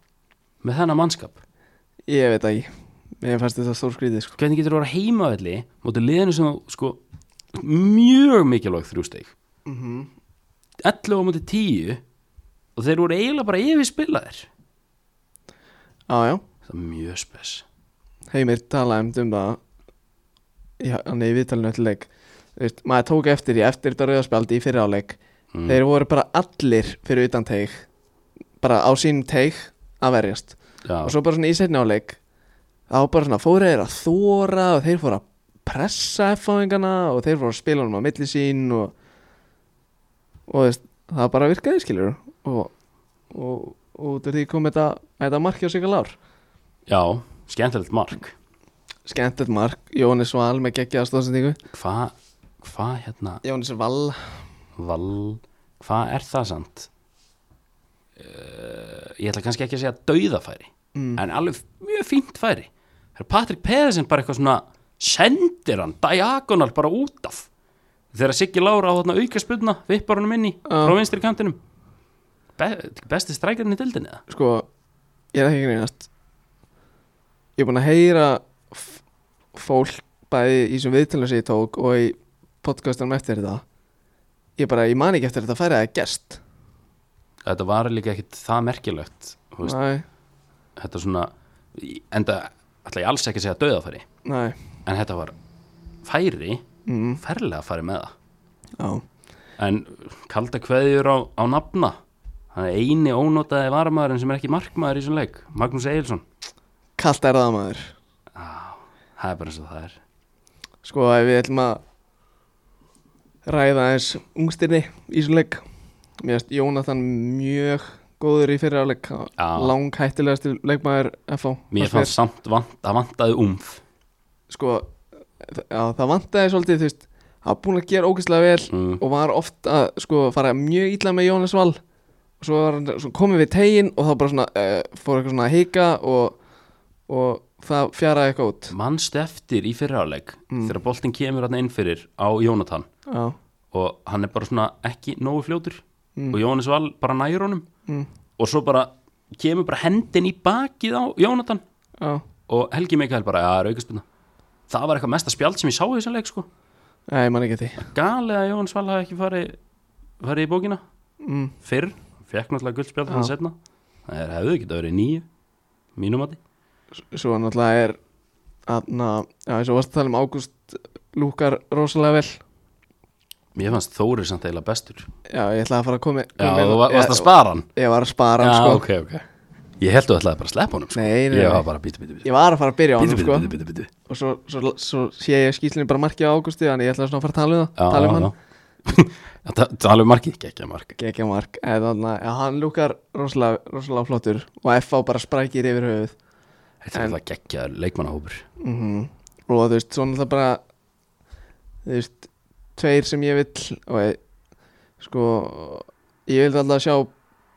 með þennan mannskap
ég veit það ekki. Mér fannst þetta stór skrítið sko.
hvernig getur þú að vera heimavelli mótið liðinu sem þú, sko mjög mikilvæg þrjústeg
Mm
11 á mótið 10 og þeir voru eiginlega bara yfirspilaðir
Já, já.
það er mjög spes
Heimir talaði um- um það Já, hann er í viðtalinu eftir leik Þú veist, maður tók eftir því eftir þetta rauðaspjaldi í fyrra á leik
Mm.
þeir voru bara allir fyrir utan teig bara á sínum teig að verjast
Já.
og svo bara svona í setni á leik þá bara svona fóru þeir að þóra og þeir fóru að pressa F-fáingana og þeir fóru að spila honum á milli sín og, og þú veist, það bara virkaði skilur og, og, og út af því kom þetta, þetta marki á sig að lár
já, skemmtilegt mark
skemmtilegt mark, Jónis Val með geggjaða stóðsendingu
hvað hva, hérna
Jónis Val
Val, hvað er það samt? Uh, ég ætla kannski ekki að segja dauðafæri
Mm.
en alveg mjög fínt færi það er Patrik Peðisen bara eitthvað svona sendir hann diagonal bara út af þegar Siggi Lára á þarna auka spilna vippar honum inn í
Já.
frá vinstri kantinum Be besti strækarinn í dildinni eða?
sko, ég er ekki greinast ég er búinn að heyra f- fólk bæði í sem viðtalum sem ég tók og í podcastanum eftir þetta ég bara, ég man ekki eftir þetta færi að gest
þetta var líka ekkit það merkilegt þú veist,
næ,
þetta svona enda ætla ég alls ekki að segja dauðafæri
næ
en þetta var færi
mm,
ferlega færi með það
á,
En kalda kveðjur á, á nafna Það er eini ónotaði varamaðurinn sem er ekki markmaður í þessum leik Magnús Egilson
kallt er það maður
Á, Það er bara eins og það er
sko ef við ætlum að ræða eins ungstirni í þessum leik mér finnst Jónatan mjög góður í fyrra leik
Já.
langhættilegasti leikmaður FH fannst mér.
Mér fannst samt vant, það vantaði umf
sko já, það vantaði svolítið þú veist hann var búin að gera ógeðslega vel
mm.
og var oft að sko fara mjög illa með Jónas Val og svo, var, hann- svo komið við tegin og þá bara svona uh, fór eitthvað svona að hika og, og það fjaraði eitthvað út
Manstu eftir í fyrirháleik mm. þegar boltinn kemur hann inn fyrir á Jónatan
já,
og hann er bara svona ekki nógu fljótur
Mm.
og Jónis Val bara nægur honum
Mm.
og svo bara kemur bara hendin í bakið á Jónatan
já,
og Helgi Mikael bara, já, raukaspilna það var eitthvað mesta spjald sem ég sá í þessu leik sko.
nei, mann ekki eftir því
galið að Jónis Val hafi ekki farið farið í bókina
mm.
fyrr, fekk náttúrulega guldspjald
Já.
hann setna, það er hefðu ekki það verið nýju mínum að
svo náttúrulega er aðna, já, eins og varst að tala um Ágúst lúkar rosalega vel
mér fannst Þórið samt eiginlega bestur
já, ég ætlaði að fara að koma
já,
koma inn-
þú var- varst að
ég-
spara hann
ég var að spara
já,
hann, sko
ok, ok ég held þú ætlaði bara að sleppa honum sko.
nei, nei,
ég var
nei.
bara bítu, bítu, bítu
ég var að fara að byrja á hann,
bítu,
sko
bítu, bítu, bítu
og svo, svo, svo sé ég skýslinni bara markið á Ágústi þannig ég ætlaði svona að fara að tala um
Já,
það tala um
já,
hann
já. Já, ta- tala um markið, ekki ekki mark
geggja mark eða þannig að hann lúkar rosalega, rosalega flottur og FH bara sprækir yfir höfuð
Þetta er alltaf geggjaður leikmannahópur
mm og þú veist, svona það bara þú veist, tveir sem ég vill og ég, sko ég vil alltaf sjá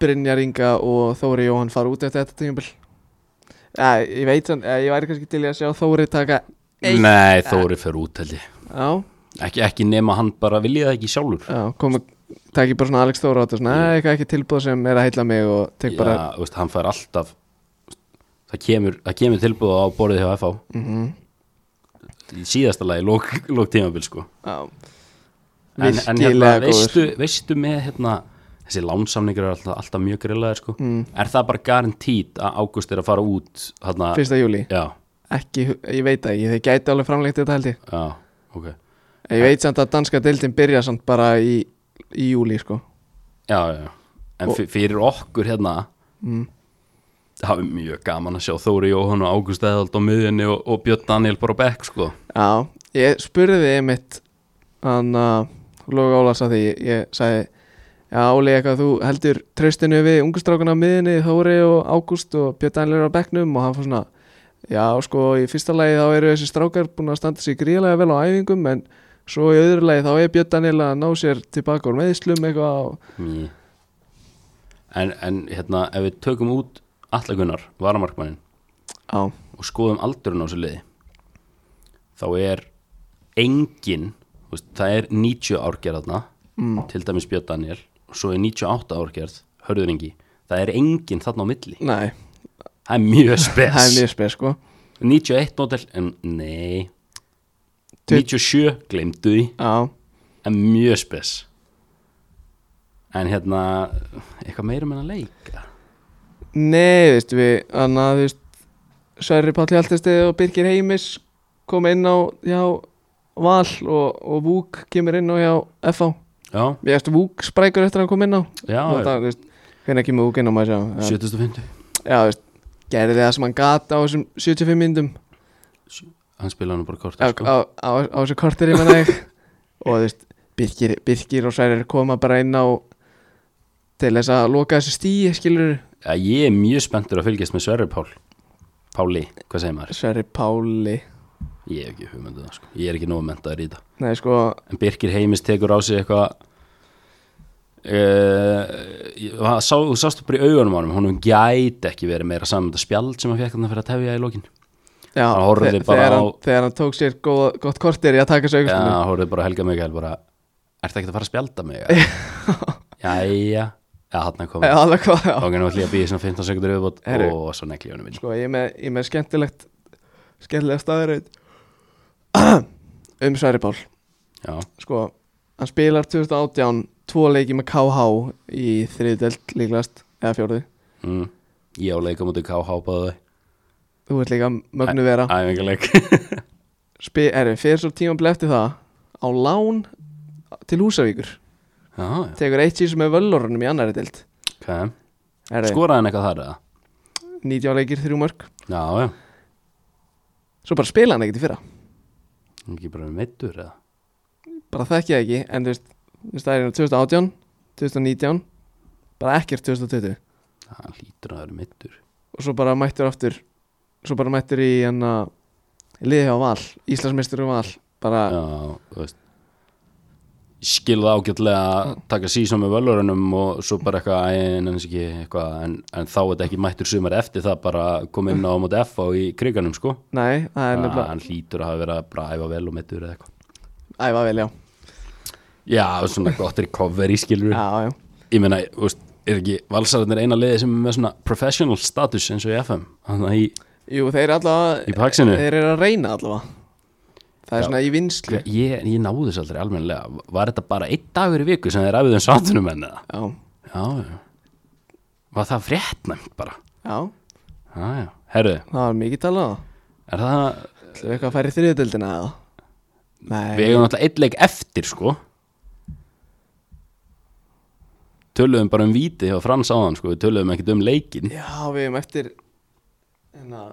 Brynjar Inga og Þóri Jóhann fara út eftir þetta tímpil ja, ég veit hann, ja, ég væri kannski til í að sjá Þóri taka eitt
Nei, Þóri fer út held ég
já,
ekki, ekki nema hann bara vilja það ekki sjálfur
já, komu taki bara svona Alex Þóra á þetta svona, "Nei, eitthvað ekki tilbúð sem er að heilla mig og tek
Já,
bara
þú veist, hann fær alltaf það kemur, það kemur tilbúið á borðið hjá FH
mhm,
í síðasta lagi, lók, lók tímabil sko
já
en, en hérna,
Virkilega góður.
veistu, veistu með hérna, þessi lánsamningur er alltaf, alltaf mjög grillaðir sko
Mm.
er það bara garantít að Ágúst er að fara út hérna,
fyrsta júli
já,
ekki, hu- ég veit það ekki, þeir gæti alveg framlengt þetta held ég
já, ok
En ég veit samt að danska deildin byrja samt bara í, í júli sko
já, já, já. en
Og-
og, fyrir okkur hérna
mm.
það er mjög gaman að sjá Þóri Jóhann og Ágúst Eðald á miðjunni og, og Björn Daniel bara á bekk sko
Já, ég spurði þið einmitt hann að Lóka Ólas að því ég, ég sagði Já, Óli, eitthvað þú heldur traustinu við ungustrákana á miðinni, Þóri og Ágúst og Björn Daniel á bekknum og hann fór svona Já, sko, í fyrsta lagi þá eru þessi strákar búin að standa sér gríðlega vel á æfingum en svo í öðru lagi þá er Björn Daniel að ná sér tilbaka úr meðslum eitthvað og
Mý. en, en hérna, ef við tökum út allagunnar, varamarkmannin
Já,
og skoðum aldurinn á þessu liði þá er engin, þú veist, það er 90 árgerðna,
mm,
til dæmis Björn Daniel og svo er 98 árgerð hörður engi, það er engin þarna á milli
nei,
það er mjög spes
það er mjög spes sko
91 nótel, en nei
Tut-
97, glemdu því
Já,
en mjög spes en hérna eitthvað meira um með að leika
Nei, þú veist við Þannig að þú veist Sverri Palli Altestið og Birgir Heimis kom inn á hjá Val og, og Vúk kemur inn á hjá FH
já,
Ég veist Vúk sprækur eftir að hann kom inn á
já,
Þetta, þú veist, Hvernig kemur Vúk inn á maður sjá Já,
75
Já, þú veist Gerði það sem hann gata á þessum 75 myndum
hann spilaði nú bara kort
Á,
sko.
á, á, á þessu kortir ég menna ég Og þú veist Birgir, Birgir og Sverri koma bara inn á Til þess að loka þessu stíi skilur
Já, ég er mjög spenntur að fylgjast með Sverri Pál Páli, hvað segir maður?
Sverri Páli
Ég hef ekki hugmyndið það sko. ég er ekki nóg að mentaður í þetta
Nei, sko
en Birgir Heimis tekur á sig eitthvað uh, sá, þú sástu bara í augunum á honum honum gæti ekki verið meira saman þetta spjald sem hann fekk hann fyrir að tefja í lokin
Já,
Hann horfði
þe-
bara
þegar,
á-
hann, þegar hann tók sér góð, gott kortir í að taka þessu
Já,
augustunum
hóruðu bara að Helga Mikael bara Ertu ekki að fara að spjalda mig? eða?" Jæja, já, hann er
Já,
komin
alveg hvað, já
Og hann var líka að býja svona 15 sekundur yfirbót
Heyrðu.
og svo negli honum minn
Sko, ég er með, ég er með skemmtilegt skemmtilega staðurreit um Sverri Pál
Já,
Sko, hann spilar 2018 tvo leiki með KH í þriðdelt líklast, eða fjórði
mm. ég á leika mútið KH báðu
Þú ert líka mögnu vera
Æfingarleik
Spi, Erfi, fyrir svo tímabli eftir það á lán til Húsavíkur
Já, já,
Tekur eitt síðan með völlorunum í annari delt
ok
Erfi,
Skoraði hann eitthvað þar eða?
19 leikir, þrjú mörg
Já, já,
Svo bara spila hann ekkert í fyrra
Hann er ekki bara meittur eða
bara þekki það ekki en þú veist, þú veist það er hérna 2018 2019, bara ekkert 2020
hann hlýtur að vera meittur
og svo bara mættur aftur svo bara mættur í hérna liði á val, Íslandsmeistur og val bara,
Já, þú veist skil það ágætlega að taka síðan með völurunum og svo bara eitthvað æ, en, ekki, eitthvað, en, en þá er þetta ekki mættur sumar eftir það bara kom inn á móti F á í kriganum sko
nei, það er
Þannig að
nefnilega
hann hlýtur að hafa verið að bara æfa vel og meittur eða eitthvað
æfa vel, já,
Já, svona gott recovery skilur
já, já
ég meina, þú veist, er ekki valsararnir eina liði sem er með svona professional status eins og í FM þannig að í,
jú, þeir eru
í
allavega,
paksinu
þeir eru að reyna allavega það er
Já.
svona í vinslu
ég, ég náði þess aldrei almennilega var þetta bara einn dagur í viku sem þeir æfðu um sátunum enn eða
já,
já, já var það fréttnæmt bara
já,
já, já, herru,
það var mikið talað um
er það
það ætlum við eitthvað að færi þriðutöldina eða nei,
við eigum náttúrulega einn leik eftir sko töluðum bara um víti hjá Frans áðan sko, við töluðum ekkert um leikin
já, við erum eftir hérna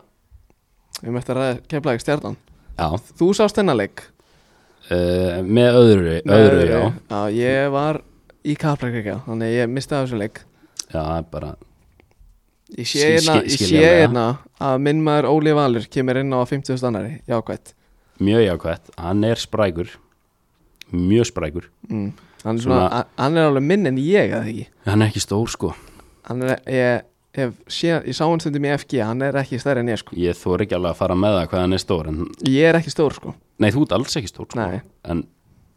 við erum eftir að ræða kemlaði stjarnan
já,
þú sást þennan leik
uh, með öðru, öðru já,
já, ég var í Kaplakrikja þannig að ég misti af þessu leik
já, það er bara
ég
Ski-
sé hérna,
ski-
ég sé
skiljanlega.
hérna að minn maður Óli Valur kemur inn á 50 stannari, jákvætt
mjög jákvætt, hann er sprækur mjög sprækur
mm. hann, er svona,
Svona-
hann er alveg minn en ég að ekki
hann er ekki stór sko
hann er, ég, ég, sé, ég sá hann stundum í FG hann er ekki stærri en ég sko
ég þor ekki alveg að fara með það hvað hann er stór en,
ég er ekki stór sko,
nei þú ert alls ekki stór sko.
nei,
en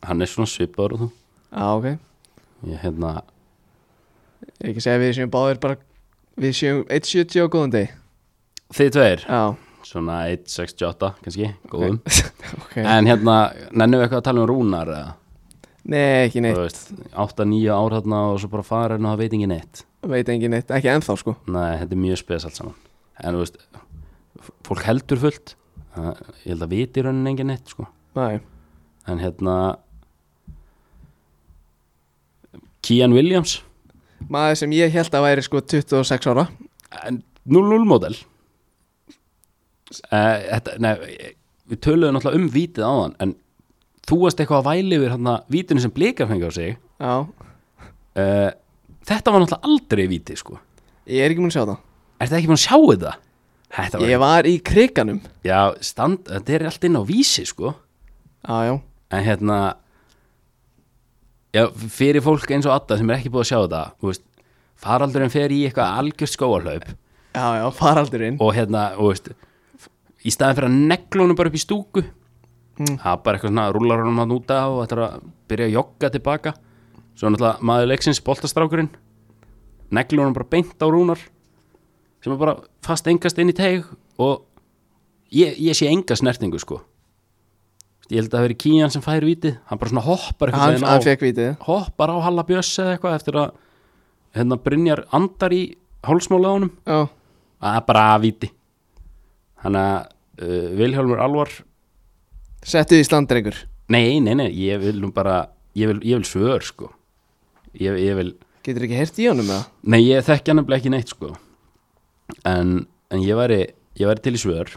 hann er svona svipaður og þú
á ok
ég, hérna,
Ég ekki segja að við séum báðir bara Við séum 1.70 á góðan deg
þið tveir
Já
svona 1.68 kannski, góðum
okay.
en hérna, nennum við eitthvað að tala um rúnar eða,
Nei, ekki neitt
þú veist, 8-9 ár þarna og svo bara farin og það veit engin neitt
Veit engin neitt, ekki ennþá sko
nei, þetta er mjög spes allt saman en þú veist, f- fólk heldur fullt Það- ég held að viti raunin engin neitt sko
Nei
en hérna Kian Williams
Maður sem ég held að væri sko 26 ára
0-0 model uh, þetta, nei, við töluðum náttúrulega um vítið áðan en þú varst eitthvað að væli yfir hérna vítinu sem blikar fengi á sig
Já
uh, þetta var náttúrulega aldrei víti sko
Ég er ekki múin að sjá það
er þetta ekki búin að sjá þetta? Þetta var,
Ég var í kriganum
já, stand, þetta er allt inn á vísi sko
Já, já
en hérna já, fyrir fólk eins og Adda sem er ekki búið að sjá þetta þú veist, faraldurinn fer í eitthvað algjörst skóarhlaup
Já, já, faraldurinn
og hérna, og veist í staðin fyrir að neglunum bara upp í stúku
Mm.
það er bara eitthvað svona rúlar honum hann út af og þetta er að byrja að jogga tilbaka svo náttúrulega maður leiksins boltastrákurinn neglunum bara beint á rúnar sem er bara fast engast inn í teig og ég, ég sé enga snertingu sko ég held að það veri Kían sem fær vitið hann bara svona hoppar
Hann,
veginn
hann fekk vitið
hoppar á Halla Bjöss eða eitthvað eftir að hérna Brynjar andar í hálsmála á honum
Já
að bara að viti þannig að uh, Vilhjálmur Alvar
Settu í standrengur
nei, nei, nei, ég vil nú bara ég vil, ég vil svör sko ég, ég vil,
Getur ekki heyrt í honum með
nei, ég þekki hann nefnilega ekki neitt sko en, en ég væri ég væri til í svör,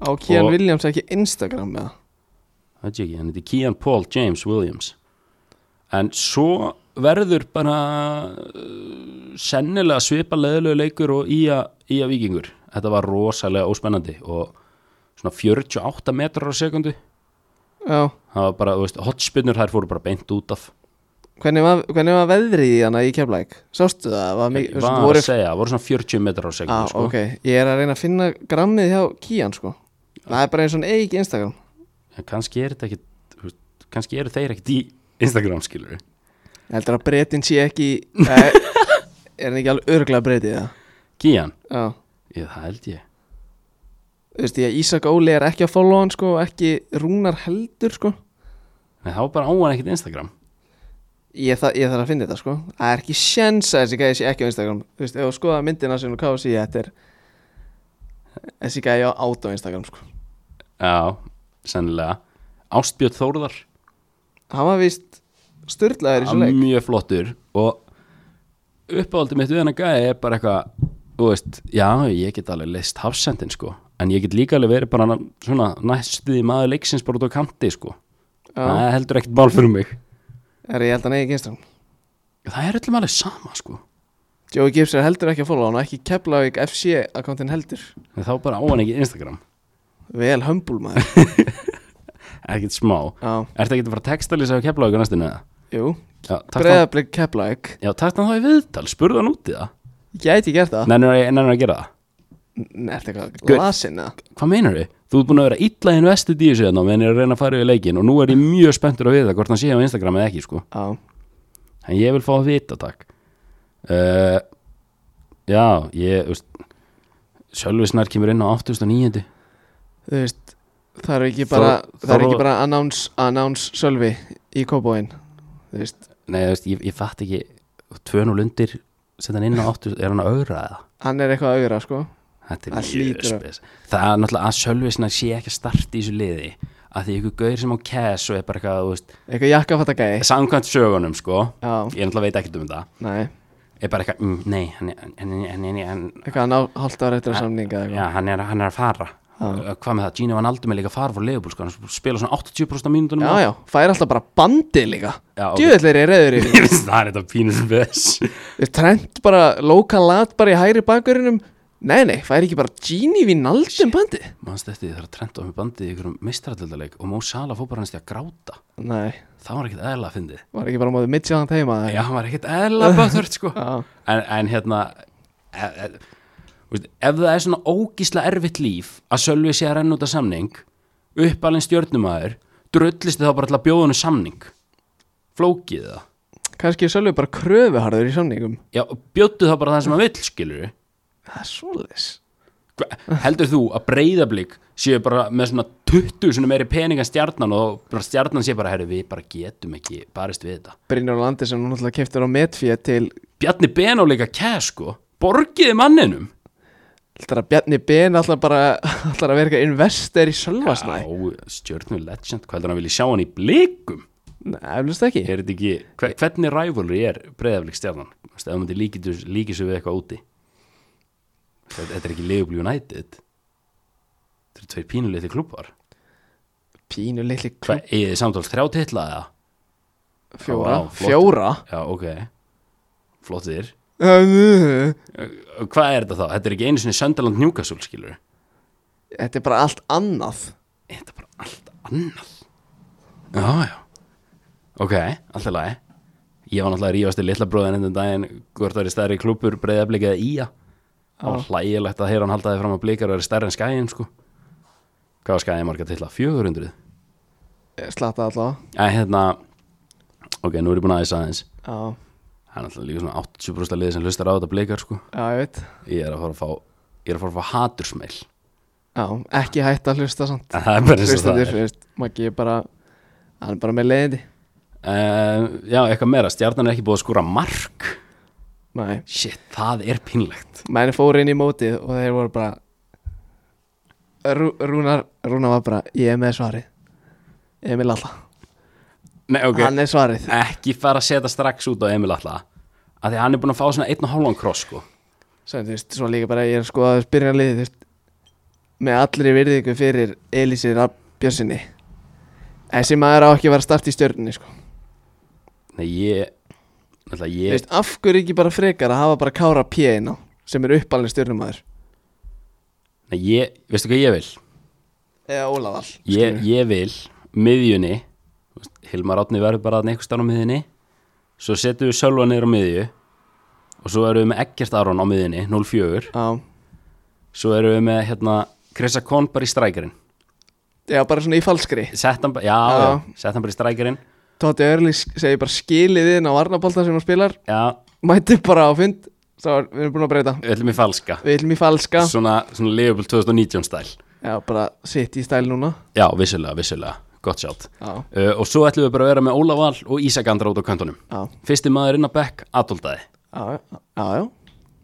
Á Kian
Og-
Williams ekki Instagram með
það veit ég ekki hann heiti Kean Paul James Williams en svo verður bara uh, sennilega svipa leðilegu leikur og í að í að vikingur, þetta var rosalega óspennandi og svona 48 metrar á sekundu
Já
það var bara, þú veist, hotspinnur þær fóru bara beint út af
Hvernig var, hvernig var veðrið í hana í keflæk? Sástu það? Var
ég
mikið,
var að
voru
segja, það voru svona 40 metrar á sekundu
ah,
sko.
ok, ég er að reyna að finna grammið hjá Kían sko það er bara eins og hann eigi Instagram
en kannski er þetta ekki þú veist, kannski eru þeir ekkit í Instagram skilur
heldur að breytin sé ekki nei, er hann ekki alveg örglega breytið það
Kían,
já,
ég, það held ég
þú veist ég að Ísak Óli er ekki að follow hann sko ekki Rúnar heldur sko
en það var bara áan ekkit Instagram
ég, þa ég þarf að finna þetta sko það er ekki sjens að þessi gæði sé ekki á Instagram þú veist, ef þú skoða myndina sem hún káði síðan þetta er þessi gæði á át á Instagram sko
já, sennilega Ástbjörn Þórðar,
hann var vist styrlaður í svo leik
mjög flottur og uppáhaldið mitt við hennar gæði er bara eitthvað, þú veist já, ég get alveg leist hafsendin sko en ég get líka alveg verið bara na- svona næstuði maður leiksins bara út á kanti sko það
Já,
er heldur ekkert mál fyrir mig
er ég held að hann eigi Gistram
það er öllum alveg sama sko
Joey Gibbs er heldur ekki að fóla hann og ekki Keflavík FC akkóntin heldur
en þá bara á hann ekki Instagram
Vel humble maður
ekkert smá
Já,
ertu ekki að fara að textalýsa á keflavíku næstinu eða?
jú
Já, taktu hann-
Breiðablik Keflavík
já, takt hann þá í viðtal, spurðu hann út í það
Gæti gert það
nennir hann að gera það?
Nei, ertu eitthvað
Good.
lasin eða?
Hvað meinar þið? Þú ert búin að vera illa investið í þessu hérna meðan ég er að reyna að fara yfir leikin og nú er ég mjög spenntur að vita hvort hann sé á Instagram eða ekki sko
Já,
en ég vil fá að vita takk uh, já ég þú veist, Sölvi Snær kemur inn á 8.900
þú veist Það er ekki
Þó-
bara, það er
þó-
ekki bara að announce, announce Sölvi í kóbóin Þú veist,
nei þú veist, ég, ég fatt ekki 2.0 undir setja hann inn á 8.000 er hann að augra eða
hann er eitthvað að augra sko
þetta
Það
er mjög
hlýtur að-
spes það er náttúrulega að Sölvi Snær sé ekki að starta í þessu liði að því ykkur gaur sem á cash og er bara eitthvað þú veist,
Eitthvað jakkafatta gæi
samkvæmt sögunum sko
Já,
ég náttúrulega veit ekkert um þetta
nei,
er bara eitthvað, mm, nei hann, hann, hann, hann, hann, hann,
eitthvað að ná hálft ára eftir að samninga eða
já, hann, er, hann er að fara
Já.
hvað með það, Gino Van Aldum er líka að fara frá Leopold sko, hann spila svona 80% af mínútunum
eitthvað Já, já, fær alltaf bara bandi líka
Já, ok.
Djöðlega er ég reyður í því.
Ég finnst það er þetta pínus bes
Þú veist, Trent bara, Loka Lat bara í hægri bakverðinum Nei, nei, fær ekki bara Gini Vinaldum bandi
mannst eftir því þegar Trent á með bandið í ykkurum mistrætildaleik og Mó Sala fór bara hans til að gráta
Nei,
það var ekkert eðla að fyndið
var ekki bara móðið Midtjylland heima eða?
já, hann var ekkert eðla bæðvörð sko en,
Já,
en hérna e, e, veist, ef það er svona ógísla erfitt líf að Sölvi sé að renna út af samning uppalinn stjórnumæður drullist þið þá bara til að bjóða hennu samning flókið það
kannski er Sölvi bara kröfuharður í samningum
Já, bjóttu þá bara það sem að vill, skilur við
Það er svoleiðis
Heldur þú að breyðablík séu bara með svona 20 svona meiri pening en stjarnan og bara stjarnan sé bara, herru, við bara getum ekki barist við þetta
Brynjar Landi sem nú náttúrulega keftur á metfíja til
Bjarni Benó líka kæs, sko Borgiði manninum
Þetta Bjarni Ben alltaf bara alltaf að verka investor í Sölvasnæ
Já, stjörnum legend, hvað heldur hann vilja sjá hann í blíkum?
Nei, eflust ekki
Er þetta ekki, hver, hvernig rivalry er breyðablík stjarnan? Þú veist, ef hann myndi líkið líkið sér við eitthvað úti Þetta, þetta er ekki Leopold United Þetta eru tveir pínulegti klubbar
Pínu litli klub
Hvað, eigið þið samtals þrjá titla eða?
Fjóra
Vá, flott.
Fjóra
Já, ok Flottir
Þetta
Hvað er þetta þá? Þetta er ekki einu sinni Söndaland Newcastle, skilur
er bara allt annað
Þetta er bara allt annað Já, já Ok, allt í lagi Ég var náttúrulega að rífast í litla bróðin enn daginn hvort það er stærri klúpur, breiða blikið í að Það var hlægilegt að heyra hann haldaði fram að blikar og er stærri en skæin, sko Hvað var skæin marga titla? 400?
Ég Eh, Slatta allavega
Æ, hérna Ok, nú er ég búin aðeins aðeins
Já,
Það er náttúrulega líka svona 80% liðið sem hlustar á þetta blikar, sko
já, ég veit
Ég er að fara að fá Ég er að fara að fá hatursmeil
Já, ekki hægt að hlusta samt
En Það er bara eins og það
Hlustendur,
er
þú veist Maggi er bara Hann er bara með leiðindi
uh, Já, eitthvað meira Stjarnan er ekki búið að skúra mark
Nei
Shit, það er pínlegt
Menni fóru inn í mótið og þeir voru bara Rú, Rúnar Rúnar var bara Ég er með svarið Emil Alla
Nei, ok
Hann er svarið
Ekki fara að setja strax út á Emil Alla Af því að hann er búin að fá svona einn og hálfan kross sko
Svo, þú veist, svo líka bara ég er sko að spyrja liði þú veist, með allri virðingu fyrir Elísi Björnsinni þessi maður á ekki að vera að starta í stjörnunni sko.
Nei, ég Ætla,
Þú
ég
veist, af hverju ekki bara frekar að hafa bara Kára P. inn á sem er uppalinn stjörnumæður
Nei, ég Veistu hvað ég vil?
eða Ólafall
Ég,
skilur.
ég vil Miðjunni þú veist, Hilmar Átni verður bara að neikust á miðjunni Svo setjum við Sölva niður á miðju Og svo erum við með Eggert Aron á miðjunni 04
Já,
Svo erum við með hérna Krissa Kohn bara í strækirinn
já, bara svona í falskri
Sett hann, ba- já,
Já.
já. sett hann bara í strækirinn
Tóti Örlis segir bara skilið inn á Arnaboltan sem hann spilar
Já,
mæti bara á fund svo er- við erum búin að breyta
við ætlum í falska
við viljum í falska
Svona, svona Leopold 2019 stæl
já, bara sitt í stæl núna
Já, vissulega, vissulega, gott sjátt
já,
uh, Og svo ætlum við bara að vera með Óla Val og Ísak Andra út á kantunum
já,
Fyrsti maður inn á Beck, Adoldaði
já, já, já.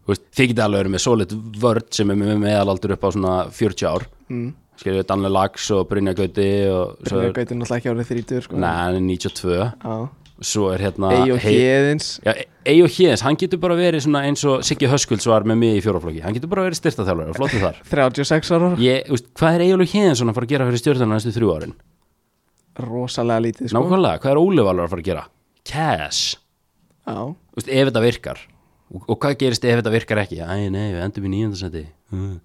Þú veist, Þið getið alveg verið með solid vörd sem er með meðalaldur upp á svona 40 ár mm. Skiljum Danle Lax og Brynja Gauti og svo
Brynjar Gauti er náttúrulega ekki árið þrítur sko.
Nei, hann er 92
Já,
svo er hérna
Eyjó Héðins
Já, Eyjó Hjeðins, hann getur bara verið svona eins og Siggi Höskulds var með mig í fjóraflokki hann getur bara verið styrtaþjálfari og flottur þar
36 ára,
ég, úst, hvað er Eyjólu Hjeðinsson að fara að gera fyrir stjórnarna næstu þrjú árin?
rosalega lítið sko
Nákvæmlega, hvað er Óli Valur að fara að gera? Cash
Já,
Úst, ef þetta virkar og, og hvað gerist ef þetta virkar ekki? Æ, nei, við endum í nýjöndarsæti uh.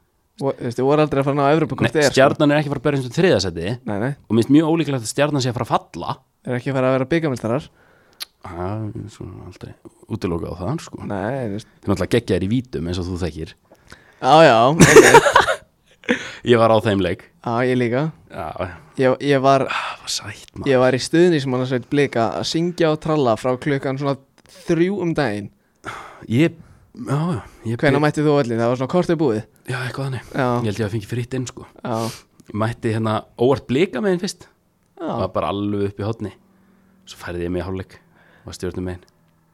og, þú veist, ég voru aldrei að fara að ná Evropakost er sko.
Stjarnan er ekki að fara að berja um þriðasæti og
Nei, nei,
mér finnst mjög ólíklegt að stjarnan sé að fara að falla
er ekki að fara að vera byggamildarar
Það er svona aldrei útilokað á það sko.
Nei, þú veist
Þeim alltaf geggja þér í vítum eins og þú þekkir
Já, já, ok,
Ég var á þeim leik
já, ég líka
Já,
Ég, ég var
það var sætt maður
Ég var í stuðni sem hann að sveit blika að syngja og tralla frá klukkan svona þrjú um daginn
Ég, já, já, ég
Hvenær mætti þú allir? Það var svona kortið búið
Já, eitthvað þannig Ég
Já,
held ég að fengi fritt inn sko
já,
Mætti hérna óvart blika meginn fyrst
já,
Var bara alveg upp í hotni Svo færði ég mig í hálfleik Var stjórnum meginn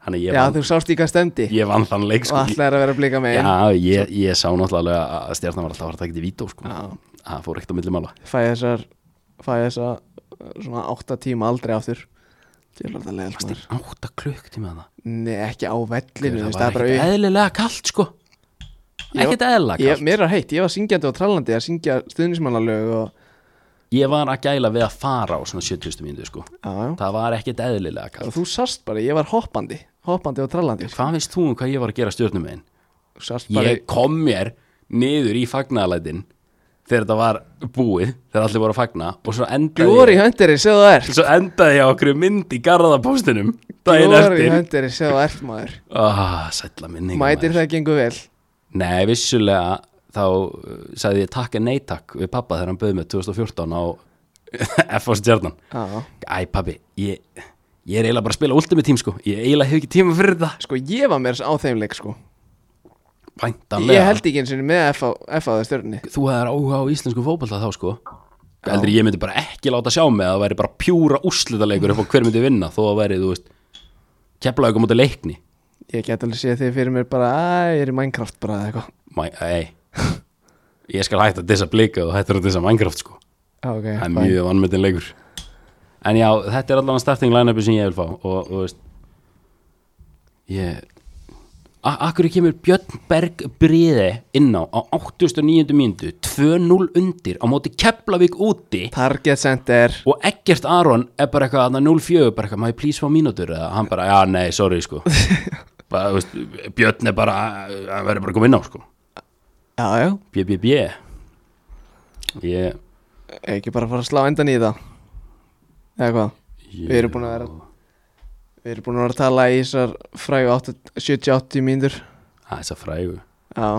Þannig ég,
já
vann,
þú sást í hvað stemdi
ég vann þann leik sko
Alltaf er að vera blika með
Já, ég, ég sá náttúrulega að stjórnum var alltaf að fara að taka þetta í vító sko
Já,
Það fór ekkert á milli mála
fæ þessar fæ þessa uh, svona 8 tíma aldrei aftur Ég er alltaf leiðast maður
Átta klukk tíma það
Nei, ekki á vellinu, þú
Það
veist,
var
það er bara
ekkert eðlilega kalt sko
Ég-
Ekkert eðlilega
ég,
kalt
Mér er heitt, ég var syngjandi og trallandi að syngja stuðnismannalög og
Ég var að gæla við að fara á svona 70. mínútu sko
Já, já
Það var ekkert eðlilega kalt
Og þú sást bara, ég var hoppandi Hoppandi og trallandi
Hvað veist þú um hvað ég var að gera stjórnum meginn?
Þú sást bara
Ég kom mér niður í fagnalætin þegar þetta var búið, þegar allir voru að fagna og svo endaði,
Glory Hunter, séu það er
ég, svo endaði ég á okkur mynd í garðapóstinum daginn
Glory
eftir
Hunter, séu það er maður
ah, Sætla minning
Mætir
maður.
það gengur vel
Nei, vissulega þá uh, sagði ég takk en nei takk við pappa þegar hann bauð mig 2014 á FH Stjarnan
Já
Æ pabbi, ég, ég er eiginlega bara að spila ultimate team sko, ég eiginlega hef ekki tíma fyrir það
Sko ég var mér á þeim leik sko
Væntanlega
Ég held ekki eins og með F á, F á það stjörni
þú hefðar áhuga á íslensku fótballta þá sko heldur ég myndi bara ekki láta sjá mig að það væri bara pjúra úrslitaleikur upp á hver myndi vinna þó að væri, þú veist kepla ykkur mútið leikni
Ég get alveg séð þig fyrir mér bara Æ, ég er í Minecraft bara eða eitthvað
Mæ, ei, ég skal hætta að dissa blika og hættur að dissa Minecraft sko
Já, ok,
það er
fine.
mjög vannmyndin leikur en já, þetta er allavega starting line-upi sem ég vil fá og, og veist ég A- Akkur kemur Björn Berg Bríði inn á á 89. mínútu 2-0 undir á móti Keflavík úti
Target Center
og Eggert Aron er bara eitthvað þarna 0-4, bara eitthvað, maður plís fá mínútur eða hann bara, já nei, sorry sko bara, þú veist, Björn er bara hann verður bara að koma inn á sko
Já, já
BBB ég,
Ekki bara fara að slá endan í það Eða hvað
ég
Við erum búin að vera Við erum búin að vera að tala í þessar frægu 8 70-80 mínútur
að þess að Ah, frægu
Já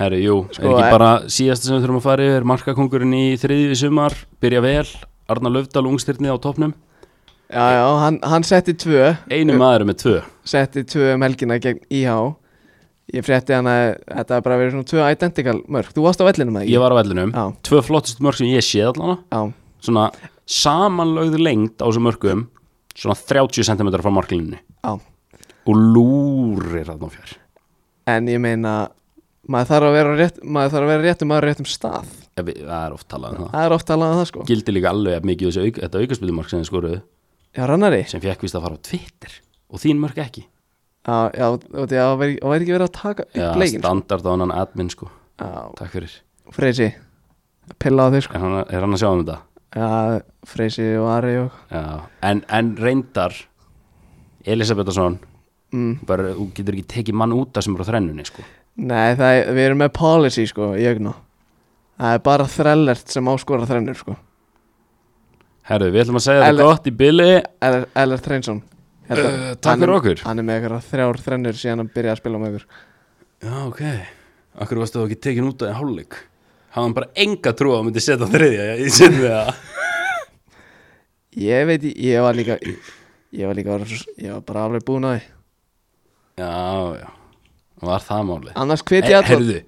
Herru, jú,
Sko,
er ekki
en-
bara síðasta sem við þurfum að fara yfir markakongurinn í þriðið sumar, byrja vel Arna Löfdal ungstyrnið á topnum
Já, já, hann, hann setti tvö
einu maður með tvö
setti tvö um helgina gegn IH ég frétti hann að þetta hafi bara verið svona tvö identical mörg þú varst á vellinum að
ég var á vellinum,
já,
tvö flottust mörg sem ég séð allana
já,
svona samanlögð lengt á þessum mörgum svona 30 cm frá marklinni
já
og lúrir þarna á fjær
en ég meina maður þarf að vera á rétt, maður þarf að vera réttum maður á réttum stað
Ef við- það er oft talað um það
það er oft talað um það sko
gildi líka alveg jafn mikið þessi auk, þetta aukaspildumark sem þið skoruðu
já, rannari já,
sem fekk vist að fara á Twitter og þín mörg ekki
já, þú veit, já, það væri það væri ekki verið að taka upp
Já,
leikin sko.
standard á hann admin sko,
já,
takk fyrir
Freysi pilla á þig sko
er hann, er hann að sjá um þetta?
já, Freysi og Ari og
Já, en, en reyndar Elisabethason
mm.
bara, þú getur ekki tekið mann út af sem er á þrennunni sko.
nei, það er, við erum með policy sko í augna það er bara þrellert sem áskora þrennur sko
Herru, við ætlum að segja
Ele-
þetta gott í bili
Eller- Ellert Reynsson
Uh, takk fyrir okkur.
Hann er með eitthvað þrjár þrennur síðan hann byrjaði að spila með ykkur
Já, ok Akkur varstu þá ekki tekin út af því hálfleik Hafði hann bara enga trú á að myndi setja á þriðja Ég sé það
Ég veit, ég var líka Ég var líka, orðinn svo- ég var bara alveg búin að því
Já, já Var það máli
Annars hviti ég alltaf
Herðu,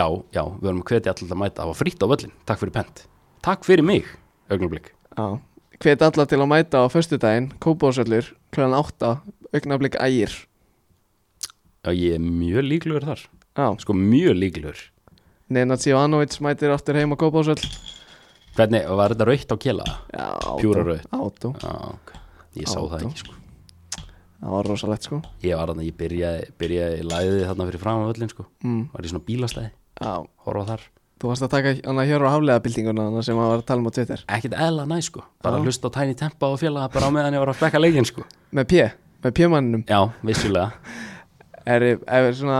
já, já, við erum að hvetja alltaf að mæta Það var frýtt á völlin, takk fyrir pent Takk fyrir mig, augnablík
Hviti alltaf til að mæta á föstudaginn Kópásöllur, kljóðan 8 Augnablik ægir
Já, ég er mjög líklegur þar
Já,
Sko, mjög líklegur
Nenad Sivanovic mætir aftur heim á Kópásöll
Hvernig, var þetta rautt á kjela?
Já,
Pjúra rautt.
Átó
Já, ok. Ég sá það
Átó.
ekki sko
það var rosalegt sko
Ég var þarna, ég byrjaði, byrjaði í læðið þarna fyrir fram á öllin sko
mm.
Var í svona bílastæði,
Já,
horfa þar
þú varst að taka hann að hér á haflega bildinguna hann sem hann var að tala um á Twitter
Ekkert eðla næ sko, bara að hlusta á tæni tempa og félaga bara á meðan ég var að spekka leikinn sko
Með P, með P-manninum
Já, vissulega
Er, ef er svona,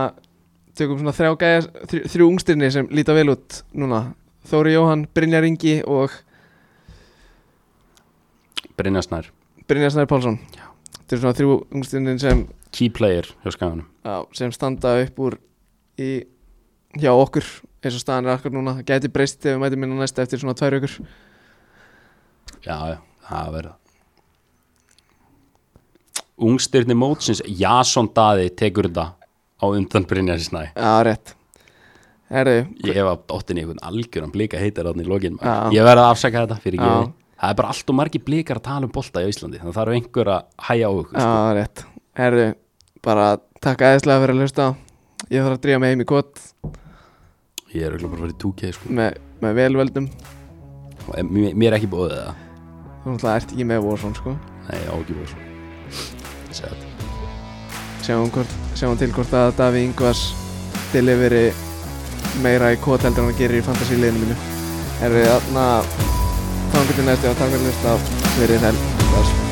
tökum svona þrjá gæja, þrjú, þrjú ungstirni sem líta vel út núna Þóri Jóhann, Brynjar Ingi og
Brynjar Snær,
Brynjar Snær Pálsson
Já.
Þetta er svona þrjú ungstirnin sem,
key player hjá skaganum
já, sem standa upp úr í, hjá okkur eins og staðan er akkur núna Það Gæti breyst ef við mætum minna næst eftir svona tvær ökur
Já, já, það verða Ungstyrni mótsins, Jason Daði tekur þetta á undan Brynjar Snær
Já, rétt Herðu,
Ég hef að dottin í einhvern algjöran blika heitar þannig í lokin
Já.
maður. Ég verði að afsaka þetta fyrir
Já.
ekki Það er bara allt og margir blikar að tala um bolta í Íslandi Þannig að það eru einhver að hæja á ykkur sko.
Já, rétt Herru, bara takk aðeinslega fyrir að hlusta Ég þarf að drífa mig heim í kott
Ég er auðvitað bara að fara í 2K sko.
með, með velvöldum
En mér, mér er ekki bóðið það
Þú náttúrulega ert ekki með Warzone, sko
Nei, ég á ekki sko. bóðið svo Sæt
Sjáum, hvort, sjáum til hvort að Daví Ingvars deliveri meira í kott heldur en hann gerir í fantasíliðinu mínu Herru, þarna þangur til næstu og takk fyrir að hlusta Verið þær, bless